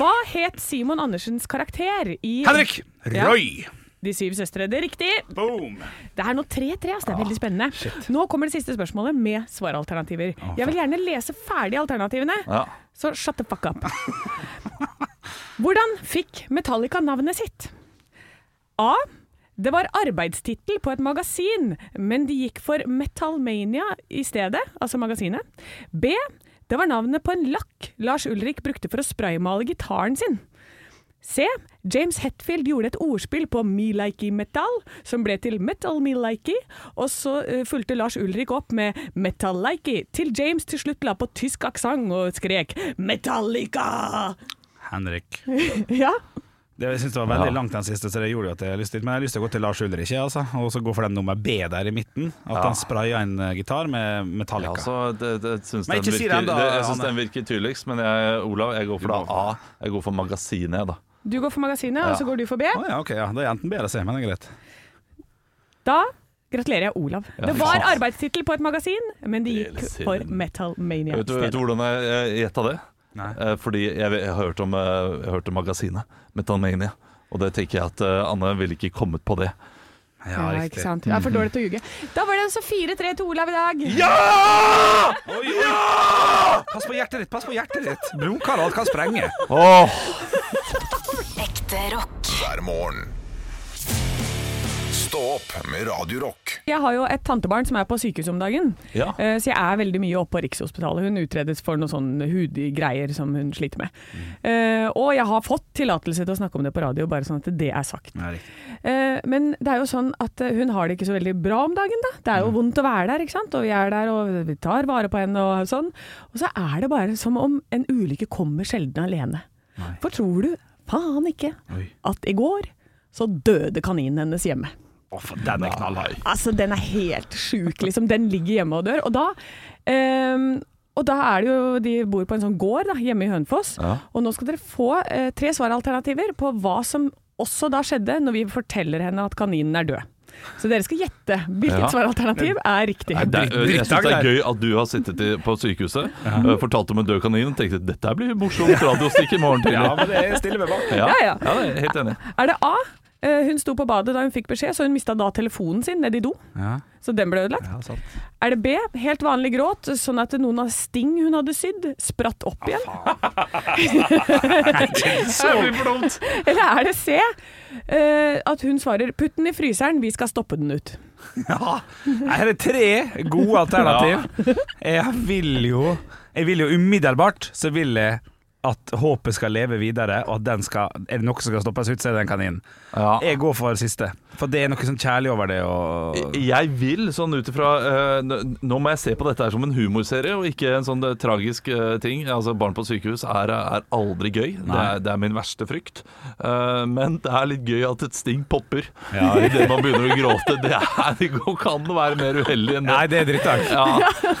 [SPEAKER 4] hva het Simon Andersens karakter i
[SPEAKER 6] Henrik!
[SPEAKER 4] Ja.
[SPEAKER 6] Roy!
[SPEAKER 4] De syv søstre? Det er riktig.
[SPEAKER 6] Boom!
[SPEAKER 4] Det er nå 3-3, altså. Det er veldig spennende. Nå kommer det siste spørsmålet med svaralternativer. Jeg vil gjerne lese ferdig alternativene,
[SPEAKER 3] Ja.
[SPEAKER 4] så shut the fuck up. Hvordan fikk Metallica navnet sitt? A. Det var arbeidstittel på et magasin, men de gikk for Metalmania i stedet, altså magasinet. B. Det var navnet på en lakk Lars Ulrik brukte for å spraymale gitaren sin. C. James Hetfield gjorde et ordspill på Me Likey Metal, som ble til Metal Me Likey, og så eh, fulgte Lars Ulrik opp med Metal Likey, til James til slutt la på tysk aksent og skrek Metallica!
[SPEAKER 6] Henrik.
[SPEAKER 4] Ja,
[SPEAKER 6] Det, jeg synes det var veldig langt den siste, så det gjorde jo at jeg har lyst til Men jeg har lyst til å gå til Lars Ulrik, jeg, altså. Og så gå for den nummer B der i midten. At han spraya en eh, gitar med
[SPEAKER 3] Ja,
[SPEAKER 6] Metallica.
[SPEAKER 3] altså, det, det, synes
[SPEAKER 6] Men
[SPEAKER 3] den
[SPEAKER 6] ikke si
[SPEAKER 3] virker,
[SPEAKER 6] den da,
[SPEAKER 3] det, jeg syns
[SPEAKER 6] Anne.
[SPEAKER 3] den virker tydeligst, men jeg, Olav, jeg går for da A. Jeg går for Magasinet, jeg, da.
[SPEAKER 4] du går for magasinet, og så går du for B.
[SPEAKER 6] Å ja, ok, ja. Det er enten B eller C, men det er greit.
[SPEAKER 4] Da gratulerer jeg Olav. det
[SPEAKER 3] ikke
[SPEAKER 4] var
[SPEAKER 3] sant.
[SPEAKER 4] arbeidstittel på et magasin, men de gikk
[SPEAKER 3] Gratulerer.
[SPEAKER 4] for Metal Mania i
[SPEAKER 3] Vet du, vet du
[SPEAKER 4] stedet.
[SPEAKER 3] hvordan jeg jeg gjetta det? Eh, Fordi jeg, jeg, har hørt om, eh, jeg har hørt om magasinet Metalmania. Og det tenker jeg at eh, Anne ville ikke kommet på det.
[SPEAKER 4] Ja, ikke sant. Det er
[SPEAKER 3] Mm-hmm.
[SPEAKER 4] for dårlig til å ljuge. Da var det altså 4-3 til Olav i dag.
[SPEAKER 6] Oi, oi. Pass på hjertet ditt, pass på hjertet ditt. Blodkar alt kan sprenge.
[SPEAKER 3] Åh,
[SPEAKER 7] Ekte rock.
[SPEAKER 2] hver morgen. Stå opp med Radio Rock.
[SPEAKER 4] Jeg har jo et tantebarn som er på sykehus om dagen,
[SPEAKER 3] Ja.
[SPEAKER 4] Eh, så jeg er veldig mye oppe på Rikshospitalet. Hun utredes for noen sånne hudgreier som hun sliter med. Eh, og jeg har fått tillatelse til å snakke om det på radio, bare sånn at det er sagt.
[SPEAKER 6] Nei, riktig.
[SPEAKER 4] Eh, men det er jo sånn at eh, hun har det ikke så veldig bra om dagen, da. Det er jo vondt å være der, ikke sant. Og vi er der og vi tar vare på henne og sånn. Og så er det bare som om en ulykke kommer sjelden alene. For tror du faen ikke
[SPEAKER 6] Oi.
[SPEAKER 4] at i går så døde kaninen hennes hjemme.
[SPEAKER 6] Å, for den er knallhøy.
[SPEAKER 4] Altså, den er helt sjuk, liksom. Den ligger hjemme og dør. Og da, ehm, og da er det jo De bor på en sånn gård da, hjemme i Hønefoss. Og nå skal dere få eh, tre svaralternativer på hva som også da skjedde når vi forteller henne at kaninen er død. Så dere skal gjette hvilket
[SPEAKER 3] Ja.
[SPEAKER 4] svaralternativ er riktig.
[SPEAKER 3] det er, jeg syns det
[SPEAKER 6] drittdag
[SPEAKER 3] er
[SPEAKER 6] der.
[SPEAKER 3] gøy at du har sittet i, på sykehuset, eh, fortalt om en død kanin og tenkte dette blir morsomt radiostikk i morgen tidlig.
[SPEAKER 6] Ja, men det stiller meg bak.
[SPEAKER 3] Ja,
[SPEAKER 4] Ja, ja.
[SPEAKER 3] det er jeg helt enig.
[SPEAKER 4] Er det A? Eh, Hun sto på badet da hun fikk beskjed, så hun mista da telefonen sin nedi do.
[SPEAKER 6] Ja,
[SPEAKER 4] Så den ble ødelagt.
[SPEAKER 6] ja sant.
[SPEAKER 4] Er det B, helt vanlig gråt, sånn at noen av sting hun hadde sydd, spratt opp igjen? Eller er det C, eh, at hun svarer 'putt den i fryseren, vi skal stoppe den ut'?
[SPEAKER 6] Ja, her er tre gode alternativ. Jeg vil jo Jeg vil jo umiddelbart så vil jeg at håpet skal leve videre, og at den skal, er det noe som skal stoppes ut, så er det den kaninen.
[SPEAKER 3] Ja.
[SPEAKER 6] Jeg går for siste, for det er noe sånn kjærlig over det. Og
[SPEAKER 3] Jeg vil, sånn ut ifra eh, n- Nå må jeg se på dette her som en humorserie, og ikke en sånn eh, tragisk eh, ting. Altså, Barn på sykehus er, er aldri gøy. Det
[SPEAKER 6] Nei.
[SPEAKER 3] er, det er min verste frykt. Eh, men det er litt gøy at et sting popper
[SPEAKER 6] Ja.
[SPEAKER 3] idet man begynner å gråte. Det, er, det kan være mer uheldig enn det.
[SPEAKER 6] Nei, det er drittdag.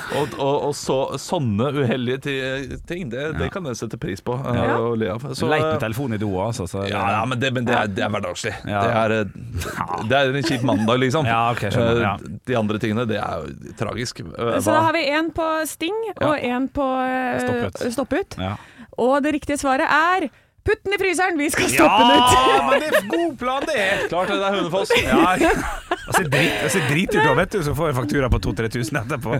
[SPEAKER 3] Ja. Og, og, og så, sånne uheldige ti- ting, det, det kan jeg sette pris på eh,
[SPEAKER 6] Ja.
[SPEAKER 3] og le av. Så,
[SPEAKER 6] Leit med telefonen i do, altså. Så
[SPEAKER 3] ja, ja, men det, men det, er, det er hverdagslig.
[SPEAKER 6] Ja.
[SPEAKER 3] Det, er, eh, det er en kjip mandag, liksom.
[SPEAKER 6] Ja, ok, skjønner,
[SPEAKER 3] Eh,
[SPEAKER 6] ja.
[SPEAKER 3] De andre tingene, det er jo tragisk. Eh,
[SPEAKER 4] Så da
[SPEAKER 3] hva-
[SPEAKER 4] har vi én på sting og én på eh,
[SPEAKER 6] Stopp ut.
[SPEAKER 4] stopp ut.
[SPEAKER 6] Ja.
[SPEAKER 4] Og det riktige svaret er 'putt den i fryseren, vi skal stoppe den ut'.
[SPEAKER 6] Ah, men det er god plan, det!
[SPEAKER 3] Klart det, det er Hønefoss.
[SPEAKER 6] Ja. Altså, drit, altså, drit ut, da, vet du, så får jeg faktura på 2000-3000 etterpå.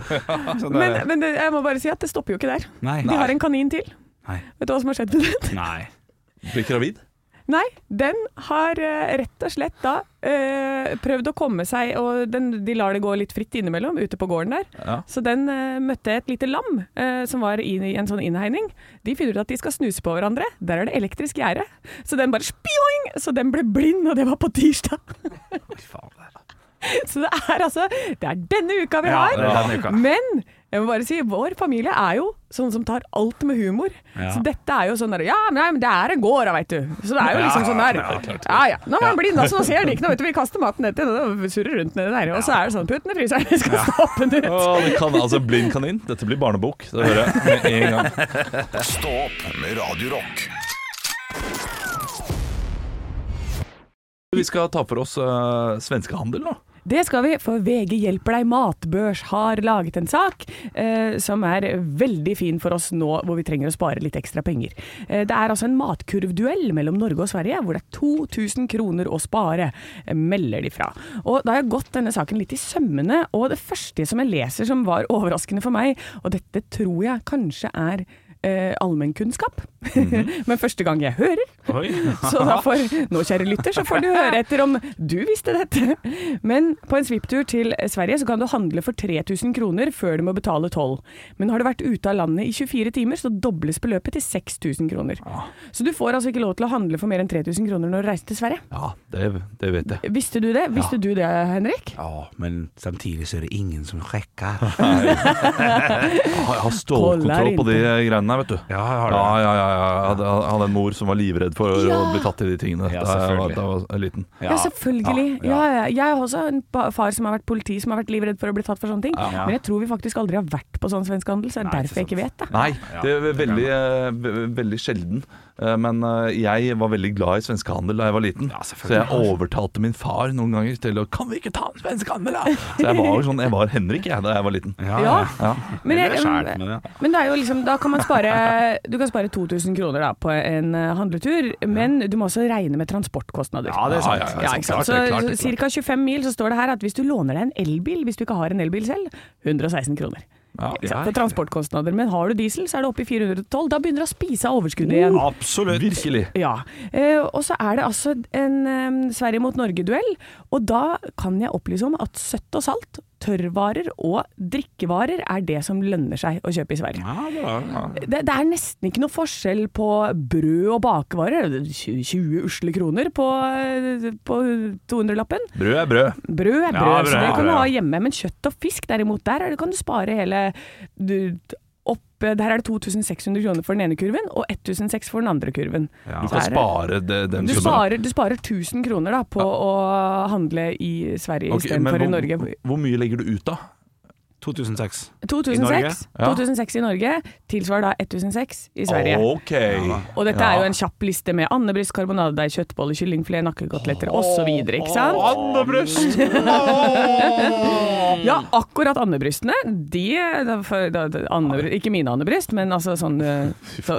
[SPEAKER 6] Så det-
[SPEAKER 4] Men, men det, jeg må bare si at det stopper jo ikke der.
[SPEAKER 6] nei.
[SPEAKER 4] De har en kanin til.
[SPEAKER 6] Nei.
[SPEAKER 4] Vet du hva som har skjedd med den?
[SPEAKER 6] Nei.
[SPEAKER 3] Blir gravid?
[SPEAKER 4] Nei, den har eh, rett og slett da eh, prøvd å komme seg, og den, de lar det gå litt fritt innimellom ute på gården der.
[SPEAKER 3] Ja.
[SPEAKER 4] Så den eh, møtte et lite lam eh, som var i en sånn innhegning. De finner ut at de skal snuse på hverandre. Der er det elektrisk gjerde. Så den bare spjoing! Så den ble blind, og det var på tirsdag. Så det er altså Det er denne uka vi
[SPEAKER 6] Ja,
[SPEAKER 4] har.
[SPEAKER 6] det er denne uka.
[SPEAKER 4] Men jeg må bare si, vår familie er jo sånn som tar alt med humor.
[SPEAKER 6] Ja.
[SPEAKER 4] Så dette er jo sånn der Ja, nei, men det er en gård, da, veit du. Så det er jo liksom
[SPEAKER 6] Ja,
[SPEAKER 4] sånn der.
[SPEAKER 6] ja, klart.
[SPEAKER 4] Ja ja. Nå er man blind, altså. Nå ser de ikke noe. Vet du, vi kaster maten nedi og surrer rundt nedi der. Og så er det sånn Putt den i fryseren, vi skal stoppe den ut.
[SPEAKER 3] Å, det kan, altså, blind kanin. Dette blir barnebok. Det hører jeg med en gang.
[SPEAKER 2] Stå opp med Radio Rock.
[SPEAKER 3] Vi skal ta for oss eh, svenskehandel nå.
[SPEAKER 4] Det skal vi, for VG hjelper deg matbørs har laget en sak eh, som er veldig fin for oss nå hvor vi trenger å spare litt ekstra penger. Eh, det er altså en matkurvduell mellom Norge og Sverige hvor det er 2000 kroner å spare, eh, melder de fra. Og da har jeg gått denne saken litt i sømmene, og det første som jeg leser som var overraskende for meg, og dette tror jeg kanskje er eh, allmennkunnskap, men første gang jeg hører, så da får, nå kjære lytter, så får du høre etter om du visste dette. Men på en svipptur til Sverige så kan du handle for 3000 kroner før du må betale toll. Men har du vært ute av landet i 24 timer, så dobles beløpet til 6000 kroner.
[SPEAKER 6] Ah.
[SPEAKER 4] Så du får altså ikke lov til å handle for mer enn 3000 kroner når du reiser til Sverige.
[SPEAKER 3] Ja, det, det vet jeg.
[SPEAKER 4] Visste du det? Visste du det, Henrik?
[SPEAKER 6] Ja, men samtidig så er det ingen som sjekker.
[SPEAKER 3] Jeg har
[SPEAKER 4] Kollar
[SPEAKER 3] stålkontroll
[SPEAKER 4] inte.
[SPEAKER 3] på de greiene der, vet du.
[SPEAKER 6] Ja, har du
[SPEAKER 3] Ja,
[SPEAKER 6] det?
[SPEAKER 3] ja, ja, ja. Jeg hadde, jeg hadde en mor som var livredd for å bli tatt i de tingene
[SPEAKER 6] Ja,
[SPEAKER 3] da, jeg var,
[SPEAKER 6] selvfølgelig.
[SPEAKER 3] da jeg var liten.
[SPEAKER 4] Ja, selvfølgelig.
[SPEAKER 6] Ja,
[SPEAKER 4] Ja, ja. Jeg har også en pa- far som har vært politi, som har vært livredd for å bli tatt for sånne ting.
[SPEAKER 6] Ja.
[SPEAKER 4] Men jeg tror vi faktisk aldri har vært på sånn svenskehandel, så det er
[SPEAKER 6] Nei,
[SPEAKER 4] derfor jeg
[SPEAKER 6] ikke
[SPEAKER 4] ikke vet det.
[SPEAKER 3] Nei,
[SPEAKER 6] Ja,
[SPEAKER 3] det er
[SPEAKER 6] det kan
[SPEAKER 3] veldig, eh, ve- veldig sjelden. Eh, Men eh, jeg var veldig glad i svenskehandel da jeg var liten.
[SPEAKER 6] Ja,
[SPEAKER 3] så
[SPEAKER 6] selvfølgelig.
[SPEAKER 3] jeg overtalte min far noen ganger til å Kan vi ikke ta en svenskehandel, da? Så jeg var, jo sånn, jeg var Henrik jeg, da jeg var liten.
[SPEAKER 6] Ja,
[SPEAKER 4] Ja.
[SPEAKER 3] Ja.
[SPEAKER 4] Men,
[SPEAKER 6] Eller
[SPEAKER 4] jeg-
[SPEAKER 6] skjært med det.
[SPEAKER 4] men det er jo liksom, da kan man spare Du kan spare 2000 kroner da, på en eh, handletur, men du må også regne med transportkostnader.
[SPEAKER 6] Ja, det er sant.
[SPEAKER 3] Ja, ja,
[SPEAKER 4] Ja, ikke sant? Så,
[SPEAKER 6] klart,
[SPEAKER 4] så ca. 25 mil så står det her at hvis du låner deg en elbil, hvis du ikke har en elbil selv, 116 kroner. Ikke sant?
[SPEAKER 6] ja.
[SPEAKER 4] For transportkostnader. Men har du diesel, så er det oppe i 412. Da begynner du å spise av overskuddet igjen.
[SPEAKER 6] Absolutt.
[SPEAKER 3] Virkelig.
[SPEAKER 4] Ja. Eh, og så er det altså en eh, Sverige mot Norge-duell, og da kan jeg opplyse om at søtt og salt, tørrvarer og drikkevarer er det som lønner seg å kjøpe i Sverige.
[SPEAKER 6] Ja, bra. Ja.
[SPEAKER 4] Det, det er nesten ikke noe forskjell på brød og bakevarer, det er 20 20 usle kroner på, eh, på 200-lappen.
[SPEAKER 3] Brød er brød.
[SPEAKER 4] Brød er brød,
[SPEAKER 6] Ja, brød
[SPEAKER 4] så det
[SPEAKER 6] er
[SPEAKER 4] kan du
[SPEAKER 6] brød,
[SPEAKER 4] ha
[SPEAKER 6] ja.
[SPEAKER 4] hjemme, men kjøtt og fisk derimot, der er det, kan du spare hele du, opp, Der er det 2600 kroner for den ene kurven, og 1600 for den andre kurven.
[SPEAKER 3] Du
[SPEAKER 4] Så
[SPEAKER 3] kan
[SPEAKER 4] er det-
[SPEAKER 3] spare det, den
[SPEAKER 4] du
[SPEAKER 3] summen.
[SPEAKER 4] sparer, du sparer 1000 kroner da, på å handle i Sverige
[SPEAKER 3] Ok, men
[SPEAKER 4] istedenfor i
[SPEAKER 3] hvor-
[SPEAKER 4] Norge.
[SPEAKER 3] Hvor mye legger du ut, da?
[SPEAKER 6] 2006.
[SPEAKER 4] 2006
[SPEAKER 3] Ja.
[SPEAKER 4] 2006 i Norge tilsvarer da 1006 i Sverige.
[SPEAKER 3] OK.
[SPEAKER 4] Og dette er jo en kjapp liste med andebryst, karbonadedeig, kjøttboller, kyllingfilet, nakkekoteletter osv. Ikke sant?
[SPEAKER 3] Andebryst!
[SPEAKER 4] Ja, akkurat andebrystene. De da- for- da- da- andebry- Ikke mine andebryst, men altså sånn eh, så,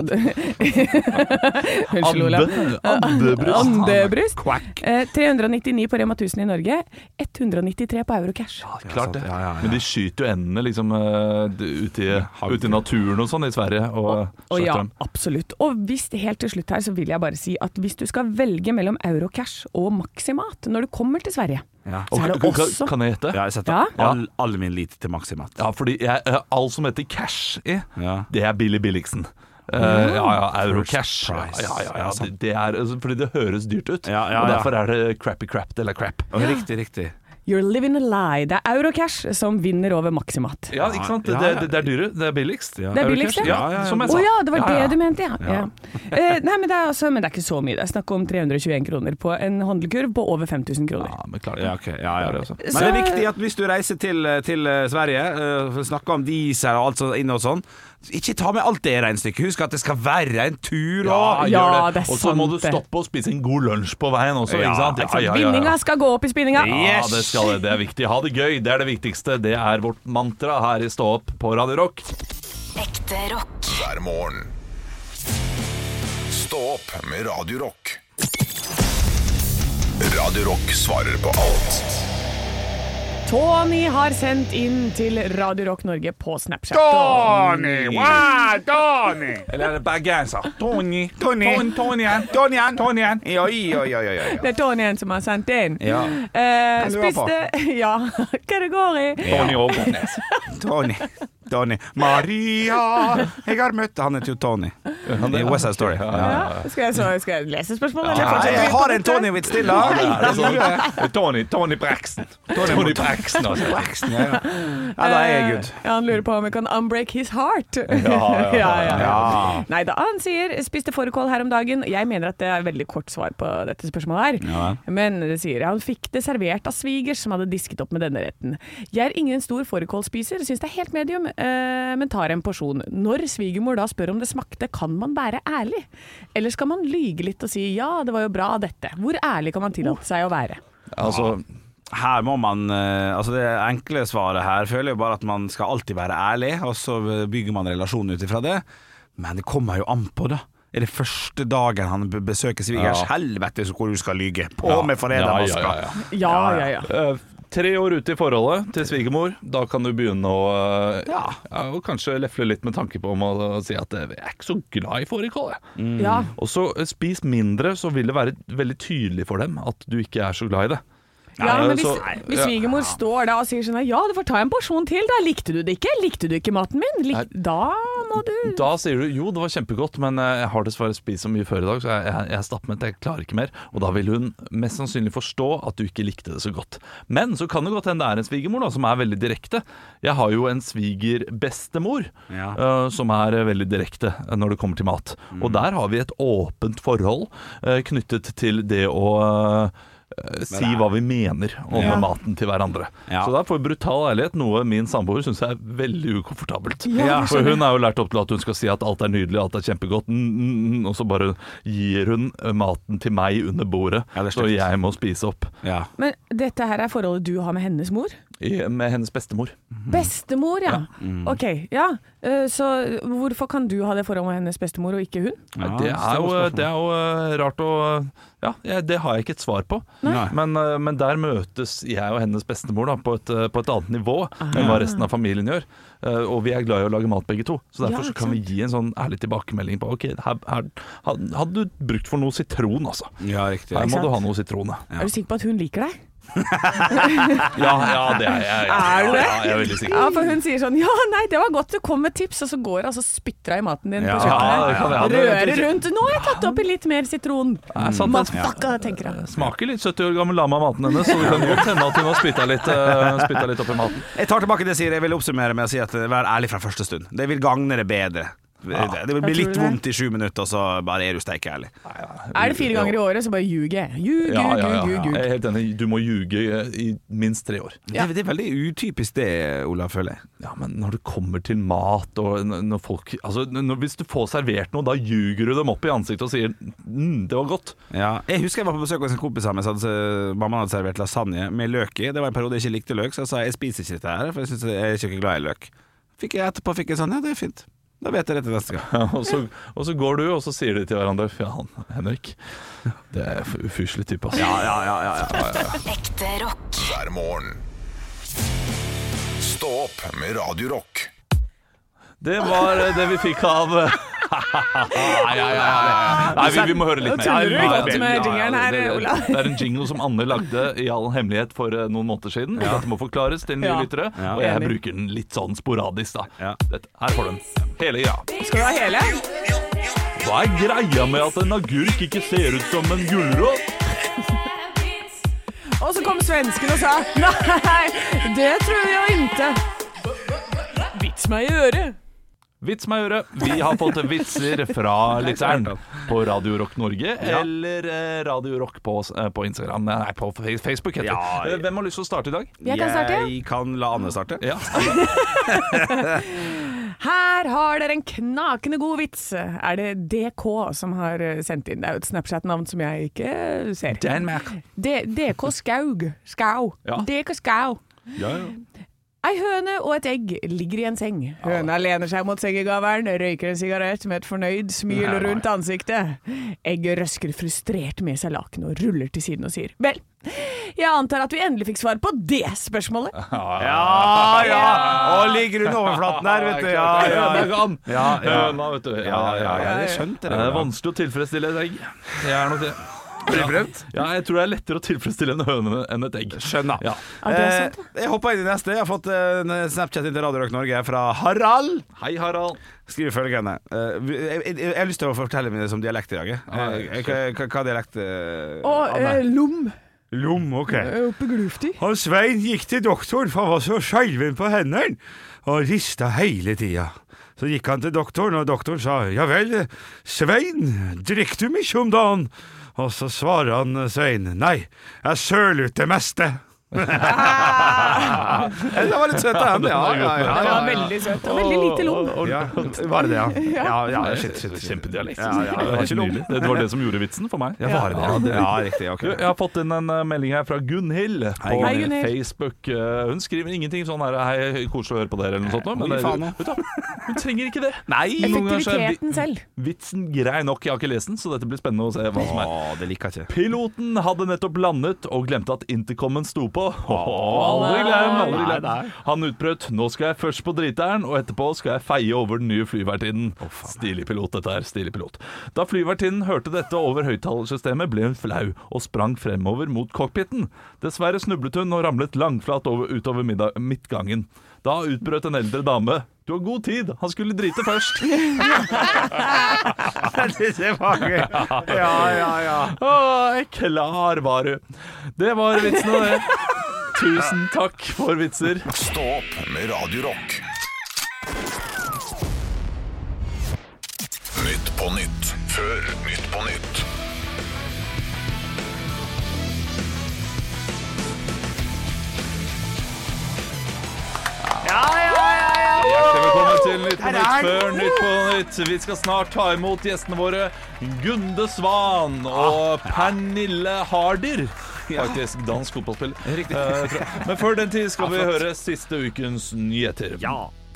[SPEAKER 4] Unnskyld, Olav.
[SPEAKER 3] Ande- Andebryst.
[SPEAKER 4] Andebryst. Eh, 399 på Rema 1000 i Norge. 193 på Eurocash.
[SPEAKER 3] Klart det.
[SPEAKER 6] Ja, ja, ja.
[SPEAKER 3] Men de skyter jo endene liksom eh, d- ute i,
[SPEAKER 6] Haug.
[SPEAKER 3] ute i naturen og sånn i Sverige. Og,
[SPEAKER 4] Og ja,
[SPEAKER 3] slakter dem.
[SPEAKER 4] absolutt. Og hvis, helt til slutt her, så vil jeg bare si at hvis du skal velge mellom Eurocash og Maximat når du kommer til Sverige,
[SPEAKER 6] Ja.
[SPEAKER 4] så er det
[SPEAKER 3] Og- kan,
[SPEAKER 4] også
[SPEAKER 3] kan jeg gjette?
[SPEAKER 6] Ja, jeg setter
[SPEAKER 4] Ja.
[SPEAKER 6] all, all min lit til Maximat.
[SPEAKER 3] Ja, fordi jeg, eh, alt som heter cash i,
[SPEAKER 6] Ja. Mm.
[SPEAKER 3] det er Billy Billigsen. Eh, ja, ja, Eurocash. Ja,
[SPEAKER 6] price.
[SPEAKER 3] ja, ja,
[SPEAKER 6] Ja,
[SPEAKER 3] det,
[SPEAKER 6] sant.
[SPEAKER 3] det er, altså, fordi det høres dyrt ut,
[SPEAKER 6] Ja, ja,
[SPEAKER 3] og
[SPEAKER 6] ja.
[SPEAKER 3] derfor er det crappy crap eller crap.
[SPEAKER 6] Og Riktig, riktig.
[SPEAKER 4] You're living a lie. Det er Eurocash som vinner over Maximat.
[SPEAKER 3] Ja, ikke sant?
[SPEAKER 6] Ja,
[SPEAKER 3] Det,
[SPEAKER 6] ja.
[SPEAKER 3] det, det er dyre, det er billigst.
[SPEAKER 6] Ja.
[SPEAKER 4] Det er billigst,
[SPEAKER 3] Eurocash,
[SPEAKER 4] det.
[SPEAKER 3] Ja, som jeg
[SPEAKER 4] Å
[SPEAKER 3] sa.
[SPEAKER 4] ja, det var
[SPEAKER 3] Ja, ja.
[SPEAKER 4] det du mente, ja. ja. Eh, nei, men det, er altså, men det er ikke så mye. Det er snakk om 321 kroner på en handlekurv på over 5000 kroner.
[SPEAKER 3] Ja, men klart det.
[SPEAKER 6] Ja, ok. ja, ja.
[SPEAKER 3] Det er det også.
[SPEAKER 6] Men det er viktig at hvis du reiser til, til eh, Sverige, eh, for å snakke om diesel og alt sånt inne og sånn, ikke ta med alt det regnestykket. Husk at det skal være en tur
[SPEAKER 3] Ja,
[SPEAKER 6] òg.
[SPEAKER 4] Ja,
[SPEAKER 3] gjør
[SPEAKER 4] det er
[SPEAKER 3] Og så må
[SPEAKER 4] sant
[SPEAKER 3] du
[SPEAKER 4] det.
[SPEAKER 3] stoppe og spise en god lunsj på veien også,
[SPEAKER 6] Ja,
[SPEAKER 3] ikke sant?
[SPEAKER 6] ikke sant?
[SPEAKER 4] Vinninga skal gå opp i spinninga!
[SPEAKER 3] Ja, det skal det. Det er viktig. Ha det gøy. Det er det viktigste. Det er vårt mantra her i Stå opp på Radio Rock.
[SPEAKER 7] Ekte rock.
[SPEAKER 2] hver morgen. Stå opp med Radio Rock. Radio Rock svarer på alt.
[SPEAKER 4] Tony har sendt inn til Radio Rock Norge på Snapchat. Tony!
[SPEAKER 6] Eller er det bergenser? Tony. Tony. Tony. Tony. Tony. Oi, oi, oi, oi, oi.
[SPEAKER 4] Det er Tony som har sendt inn.
[SPEAKER 6] Ja.
[SPEAKER 4] Eh,
[SPEAKER 6] Hva lurer jeg på?
[SPEAKER 4] spiste Ja, hva det går i?
[SPEAKER 3] Tony Ågånes.
[SPEAKER 6] Tony. Tony. Maria Jeg har møtt Han heter jo Tony. I West Side Story. Ja.
[SPEAKER 4] Ja. Skal, jeg så, skal jeg lese spørsmålet?
[SPEAKER 6] Ja, jeg har en Tony-vits til,
[SPEAKER 3] Ja,
[SPEAKER 6] da.
[SPEAKER 3] det er sånn. Tony, Tony Braxton. Tony Braxton, altså.
[SPEAKER 6] Braxton, Ja, ja. ja, da er jeg good.
[SPEAKER 4] Eh, han lurer på om vi kan unbreak his heart.
[SPEAKER 3] ja, ja.
[SPEAKER 6] Ja.
[SPEAKER 4] Nei da, han sier 'spiste fårikål her om dagen'. Jeg mener at det er veldig kort svar på dette spørsmålet her.
[SPEAKER 6] Ja.
[SPEAKER 4] Men det sier han fikk det servert av svigers som hadde disket opp med denne retten. Jeg er ingen stor fårikålspiser, syns det er helt medium, eh, men tar en porsjon. Når svigermor da spør om det smakte, kan man være ærlig? Eller skal man lyge litt og si 'ja, det var jo bra dette'? Hvor ærlig kan man tillate seg å være?
[SPEAKER 3] Altså,
[SPEAKER 6] Her må man eh, Altså Det enkle svaret her føler jeg bare at man skal alltid være ærlig, og så bygger man relasjonen ut ifra det. Men det kommer jo an på, da. Er det første dagen han be- besøker svigers?
[SPEAKER 3] Ja.
[SPEAKER 6] Helvete så hvor du skal lyge! På
[SPEAKER 3] Ja.
[SPEAKER 6] med forrædermaska!
[SPEAKER 3] Ja, ja, ja,
[SPEAKER 4] Ja, ja, ja.
[SPEAKER 3] eh, tre år ute i forholdet til svigermor, da kan du begynne å eh,
[SPEAKER 6] Ja.
[SPEAKER 3] ja, og kanskje lefle litt med tanke på om å si at eh, jeg er ikke så glad i fårikål, jeg.
[SPEAKER 4] ja.
[SPEAKER 3] Og så eh, spis mindre, så vil det være veldig tydelig for dem at du ikke er så glad i det.
[SPEAKER 4] Ja,
[SPEAKER 3] Nei,
[SPEAKER 4] men hvis,
[SPEAKER 3] så-
[SPEAKER 4] hvis
[SPEAKER 3] ja.
[SPEAKER 4] svigermor står da og sier sånn Ja, du får ta en porsjon til, da. Likte du det ikke? Likte du ikke maten min? Lik da må du
[SPEAKER 3] Da sier du jo, det var kjempegodt, men eh, jeg har dessverre spist så mye før i dag, så jeg, jeg, jeg er stappmett, jeg klarer ikke mer. Og da vil hun mest sannsynlig forstå at du ikke likte det så godt. Men så kan det godt hende det er en svigermor da, som er veldig direkte. Jeg har jo en svigerbestemor
[SPEAKER 6] Ja. Mm.
[SPEAKER 3] eh, som er eh, veldig direkte eh, når det kommer til mat. Og der har vi et åpent forhold eh, knyttet til det å eh, Si
[SPEAKER 6] det er-
[SPEAKER 3] hva vi mener om
[SPEAKER 6] Ja.
[SPEAKER 3] maten til hverandre.
[SPEAKER 6] Ja.
[SPEAKER 3] Så det er for brutal ærlighet, noe min samboer syns er veldig ukomfortabelt.
[SPEAKER 6] Ja, jeg
[SPEAKER 3] For hun er jo lært opp til at hun skal si at alt er nydelig, alt er kjempegodt, mm, mm, mm, og så bare gir hun eh, maten til meg under bordet,
[SPEAKER 6] Ja, det er
[SPEAKER 3] og
[SPEAKER 6] stygt.
[SPEAKER 3] jeg må spise opp
[SPEAKER 6] Ja.
[SPEAKER 4] Men dette her er forholdet du har med hennes mor?
[SPEAKER 3] i, med hennes bestemor.
[SPEAKER 4] Bestemor, ja. Ok, ja. Eh, Så hvorfor kan du ha det forholdet med hennes bestemor og ikke hun?
[SPEAKER 6] Ja,
[SPEAKER 3] det, er jo, det er jo eh, rart å Ja, jeg- det har jeg ikke et svar på.
[SPEAKER 6] Nei.
[SPEAKER 3] Men, eh, men der møtes jeg og hennes bestemor da, på, et, eh, på et annet nivå enn hva resten av familien gjør. Eh, Og vi er glad i å lage mat begge to, så
[SPEAKER 4] Ja,
[SPEAKER 3] derfor så kan vi
[SPEAKER 4] ikke
[SPEAKER 3] gi en sånn ærlig tilbakemelding på OK, her, her had- hadde du brukt for noe sitron, altså.
[SPEAKER 6] Ja, riktig.
[SPEAKER 3] Her må
[SPEAKER 4] sant?
[SPEAKER 3] du ha noe sitron, ja.
[SPEAKER 4] Er du sikker på at hun liker deg?
[SPEAKER 3] Ja, ja, det er jeg. Ja,
[SPEAKER 4] Er du det?
[SPEAKER 3] Ja, jeg er veldig sikker.
[SPEAKER 4] Ja, for hun sier sånn Ja, nei, det var godt, det kom med tips, og så går det altså spytter hun i maten din
[SPEAKER 6] Ja,
[SPEAKER 4] på
[SPEAKER 3] ja, det kan jeg ha.
[SPEAKER 4] kjøkkenet.
[SPEAKER 3] Det vet
[SPEAKER 4] Rører
[SPEAKER 3] jeg ikke.
[SPEAKER 4] rundt. Nå har jeg tatt oppi litt mer sitron.
[SPEAKER 3] Jeg satt en-
[SPEAKER 4] Motherfucker, tenker hun.
[SPEAKER 3] Smaker litt 70 år gammel lama maten hennes, så det kan godt hende at hun har spytta litt, eh, spyttet litt oppi maten.
[SPEAKER 6] Jeg tar tilbake det jeg sier. Jeg vil oppsummere med å si at eh, vær ærlig fra første stund. Det vil gagne det bedre. Det,
[SPEAKER 4] Jeg
[SPEAKER 6] det blir
[SPEAKER 4] tror
[SPEAKER 6] litt
[SPEAKER 4] det.
[SPEAKER 6] vondt i sju minutter, og så bare er du steike ærlig.
[SPEAKER 4] Er det fire ganger i året, så bare ljuger jeg. Ljug,
[SPEAKER 3] Ja, ja, ja,
[SPEAKER 4] ljug,
[SPEAKER 3] ja.
[SPEAKER 4] ljug,
[SPEAKER 3] Jeg
[SPEAKER 4] ljug.
[SPEAKER 3] er helt enig. Du må ljuge i minst tre år.
[SPEAKER 6] Det, det er veldig utypisk det, Olav, føler jeg.
[SPEAKER 3] Ja, men når det kommer til mat og n- når folk Altså, n- når, hvis du får servert noe, da ljuger du dem opp i ansiktet og sier mm, 'det var godt'.
[SPEAKER 6] Ja. Jeg husker jeg var på besøk hos en kompis av meg. så hadde- Mamma hadde servert lasagne med løk i. Det var en periode jeg ikke likte løk, så jeg sa jeg spiser ikke dette her, for jeg, synes jeg er ikke glad i løk. Fikk jeg etterpå fikk jeg sånn, ja det er fint. Da vet jeg det til neste gang.
[SPEAKER 3] Og så, og så går du, og så sier de til hverandre 'faen, Henrik'. Det er f- ufyselig type, altså.
[SPEAKER 6] Ja, ja, ja, ja, ja.
[SPEAKER 7] Ekte rock.
[SPEAKER 2] hver morgen. Stå opp med Radio Rock.
[SPEAKER 3] Det var eh, det vi fikk av Nei, ja, ja, ja, ja. Nei vi, vi må høre litt mer.
[SPEAKER 4] tuller du
[SPEAKER 3] Ja, ja,
[SPEAKER 4] godt
[SPEAKER 3] ja.
[SPEAKER 4] med
[SPEAKER 3] Ja, ja,
[SPEAKER 4] jingeren her,
[SPEAKER 3] det- det-
[SPEAKER 4] Olav.
[SPEAKER 3] Det er en jingle som Anne lagde i all hemmelighet for eh, noen måneder siden. og Dette må forklares til nye
[SPEAKER 4] Ja.
[SPEAKER 3] lyttere,
[SPEAKER 6] Ja.
[SPEAKER 3] og jeg
[SPEAKER 4] Enig.
[SPEAKER 3] bruker den litt sånn sporadisk, da.
[SPEAKER 6] Ja.
[SPEAKER 3] Dette, her får du den. Hele greia.
[SPEAKER 4] Skal du ha hele?
[SPEAKER 3] Hva er greia med at en agurk ikke ser ut som en gulrot?
[SPEAKER 4] Og så kom svensken og sa Nei, det tror jeg ikke. Vits meg i øret.
[SPEAKER 3] Vits meg i øret. Vi har fått vitser fra lytteren på Radio Rock Norge eller eh, Radio Rock på, eh, på Instagram Nei, på Fe- Facebook. heter det.
[SPEAKER 6] Ja, ja.
[SPEAKER 3] Eh, Hvem har lyst til å starte i dag?
[SPEAKER 4] Jeg kan starte.
[SPEAKER 6] Jeg kan la Anne starte.
[SPEAKER 3] Ja.
[SPEAKER 4] Her har dere en knakende god vits. Er det DK som har eh, sendt inn? Det er jo et Snapchat-navn som jeg ikke ser.
[SPEAKER 3] Danmark.
[SPEAKER 4] D DK Skaug. Skau.
[SPEAKER 3] Ja.
[SPEAKER 4] DK Skau. Ei høne og et egg ligger i en seng. Høna lener seg mot sengegaveren, røyker en sigarett med et fornøyd smil rundt ansiktet. Egget røsker frustrert med seg lakenet og ruller til siden og sier Vel, jeg antar at vi endelig fikk svar på det spørsmålet.
[SPEAKER 6] Ja, ja! Og ligger under overflaten her, vet du. Ja, ja,
[SPEAKER 3] Høna
[SPEAKER 6] ja.
[SPEAKER 3] kan.
[SPEAKER 6] Ja, ja.
[SPEAKER 3] Høna, vet du. Ja, ja, ja.
[SPEAKER 6] Jeg skjønte
[SPEAKER 3] Det
[SPEAKER 6] det.
[SPEAKER 3] er vanskelig å tilfredsstille et egg. Det er nok det.
[SPEAKER 6] Har du prøvd?
[SPEAKER 3] Ja, jeg tror det er lettere å tilfredsstille en høne enn et egg.
[SPEAKER 6] Skjønner.
[SPEAKER 3] Ja.
[SPEAKER 4] Ja, det er sant,
[SPEAKER 6] Eh, jeg hopper inn i neste. Jeg har fått eh, en Snapchat inn til Radio Rock Norge fra Harald.
[SPEAKER 3] Hei, Harald.
[SPEAKER 6] Skriver følgende eh, vi- jeg, jeg, jeg har lyst til å fortelle meg det som dialekt i dag. jeg. Eh, hva- hva- Hva dialekt eh,
[SPEAKER 4] Og Ah, eh,
[SPEAKER 6] Anne?
[SPEAKER 4] lom
[SPEAKER 6] Lom, OK.
[SPEAKER 4] eh, oppe glufti.
[SPEAKER 6] Han Svein gikk til doktoren, for han var så skjelven på hendene og rista hele tida. Så gikk han til doktoren, og doktoren sa ja vel, Svein, drikker du mye om dagen? Og så svarer han Svein nei, jeg søl ut det meste. det var litt søtt av ham, ja. ja, ja,
[SPEAKER 4] Det
[SPEAKER 6] ja,
[SPEAKER 4] var veldig søtt. Og veldig lite lom.
[SPEAKER 6] ja. Var det det, ja? Ja, ja, shit, shit.
[SPEAKER 3] Kjempedialekt.
[SPEAKER 6] Ja, ja, det var
[SPEAKER 3] Helt
[SPEAKER 6] ikke lov.
[SPEAKER 3] nydelig. det var det som gjorde vitsen for meg.
[SPEAKER 6] Ja, var det det? Ja, riktig.
[SPEAKER 3] Du,
[SPEAKER 6] ok.
[SPEAKER 3] jeg har fått inn en eh, melding her fra Gunhild på
[SPEAKER 4] Hei, Gunhild.
[SPEAKER 3] Facebook. Eh, Hun skriver ingenting sånn her 'hei, koselig å høre på dere' eller noe sånt. nå, Men
[SPEAKER 6] Oi,
[SPEAKER 3] det,
[SPEAKER 6] faen, nå.
[SPEAKER 3] vet du hva, hun trenger ikke det. Noen ganger så er vi-
[SPEAKER 4] Effektiviteten selv.
[SPEAKER 3] Vitsen grei nok, jeg har ikke lest den, så dette blir spennende å se hva som er.
[SPEAKER 6] Å, det liker jeg ikke.
[SPEAKER 3] Piloten hadde nettopp landet og glemte at intercomen sto på. aldri glem, aldri glem. Han utbrøt 'nå skal jeg først på driteren, og etterpå skal jeg feie over den nye flyvertinnen'. stilig pilot, dette her. Stilig pilot. Da flyvertinnen hørte dette over høyttalersystemet, ble hun flau og sprang fremover mot cockpiten. Dessverre snublet hun og ramlet langflat over, utover middag, midtgangen. Da utbrøt en eldre dame 'du har god tid, han skulle drite først'.
[SPEAKER 6] Det var gøy. Ja, ja, ja.
[SPEAKER 3] Åh, klar var du. Det var vitsene, det. Tusen takk for vitser.
[SPEAKER 2] Stå opp med Radio Rock. Nytt på nytt før Nytt på nytt.
[SPEAKER 3] Hjertelig velkommen til Nytt på Nytt før Nytt på Nytt. Vi skal snart ta imot gjestene våre Gunde Svan og Pernille Harder. Faktisk dansk fotballspiller. Eh, fra- Men før den tid skal vi høre siste ukens nyheter.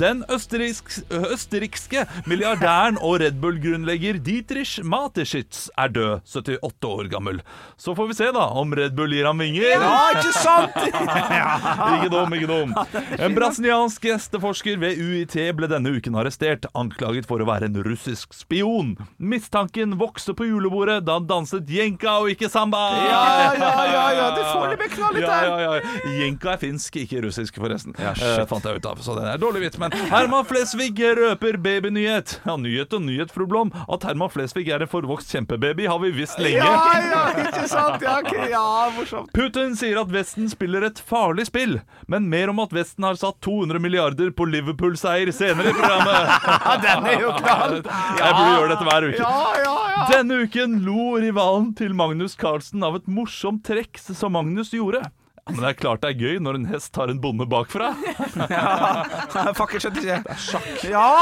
[SPEAKER 3] Den østerriks, østerrikske milliardæren og Red Bull-grunnlegger Dietrich Mateschitz er død, 78 år gammel. Så får vi se da om Red Bull gir ham vinger.
[SPEAKER 6] Ja, ikke sant? Ah.
[SPEAKER 3] Ikke dum, ikke dum. En brasiliansk gjesteforsker ved UiT ble denne uken arrestert, anklaget for å være en russisk spion. Mistanken vokste på julebordet da han danset jenka og ikke samba. Ja,
[SPEAKER 6] ja, ja, ja, du får det med knall litt
[SPEAKER 3] ja, ja, ja. Jenka er finsk, ikke russisk, forresten. eh, fant jeg ut av, så den er dårlig vits, men Herman Flesvig røper babynyhet. Ja, nyhet og nyhet, fru Blom. At Herman Flesvig er en forvokst kjempebaby, har vi visst lenge.
[SPEAKER 6] Ja, ja, ikke sant? Ja, ok, ja morsomt.
[SPEAKER 3] Putin sier at Vesten spiller et farlig spill, men mer om at Vesten har satt 200 milliarder på Liverpool-seier senere i programmet.
[SPEAKER 6] Ja, den er jo knall!
[SPEAKER 3] Jeg burde gjøre dette hver uke.
[SPEAKER 6] Ja, ja, ja.
[SPEAKER 3] Denne uken lo rivalen til Magnus Carlsen av et morsomt trekk som Magnus gjorde. Ja, Men det er klart det er gøy når en hest tar en bonde bakfra.
[SPEAKER 6] Fuck, jeg skjønte ikke. Sjakk. Ja!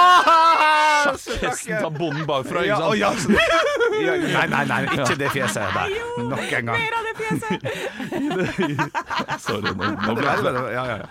[SPEAKER 3] Hesten tar bonden bakfra,
[SPEAKER 6] Ja, å, ja,
[SPEAKER 3] ikke sant?
[SPEAKER 6] så- ja, nei, nei, nei, ikke det fjeset der. Nok en gang.
[SPEAKER 4] Mer av det fjeset!
[SPEAKER 3] Sorry, nå, nå ble
[SPEAKER 6] Det
[SPEAKER 3] jeg
[SPEAKER 6] er- Ja, ja, ja.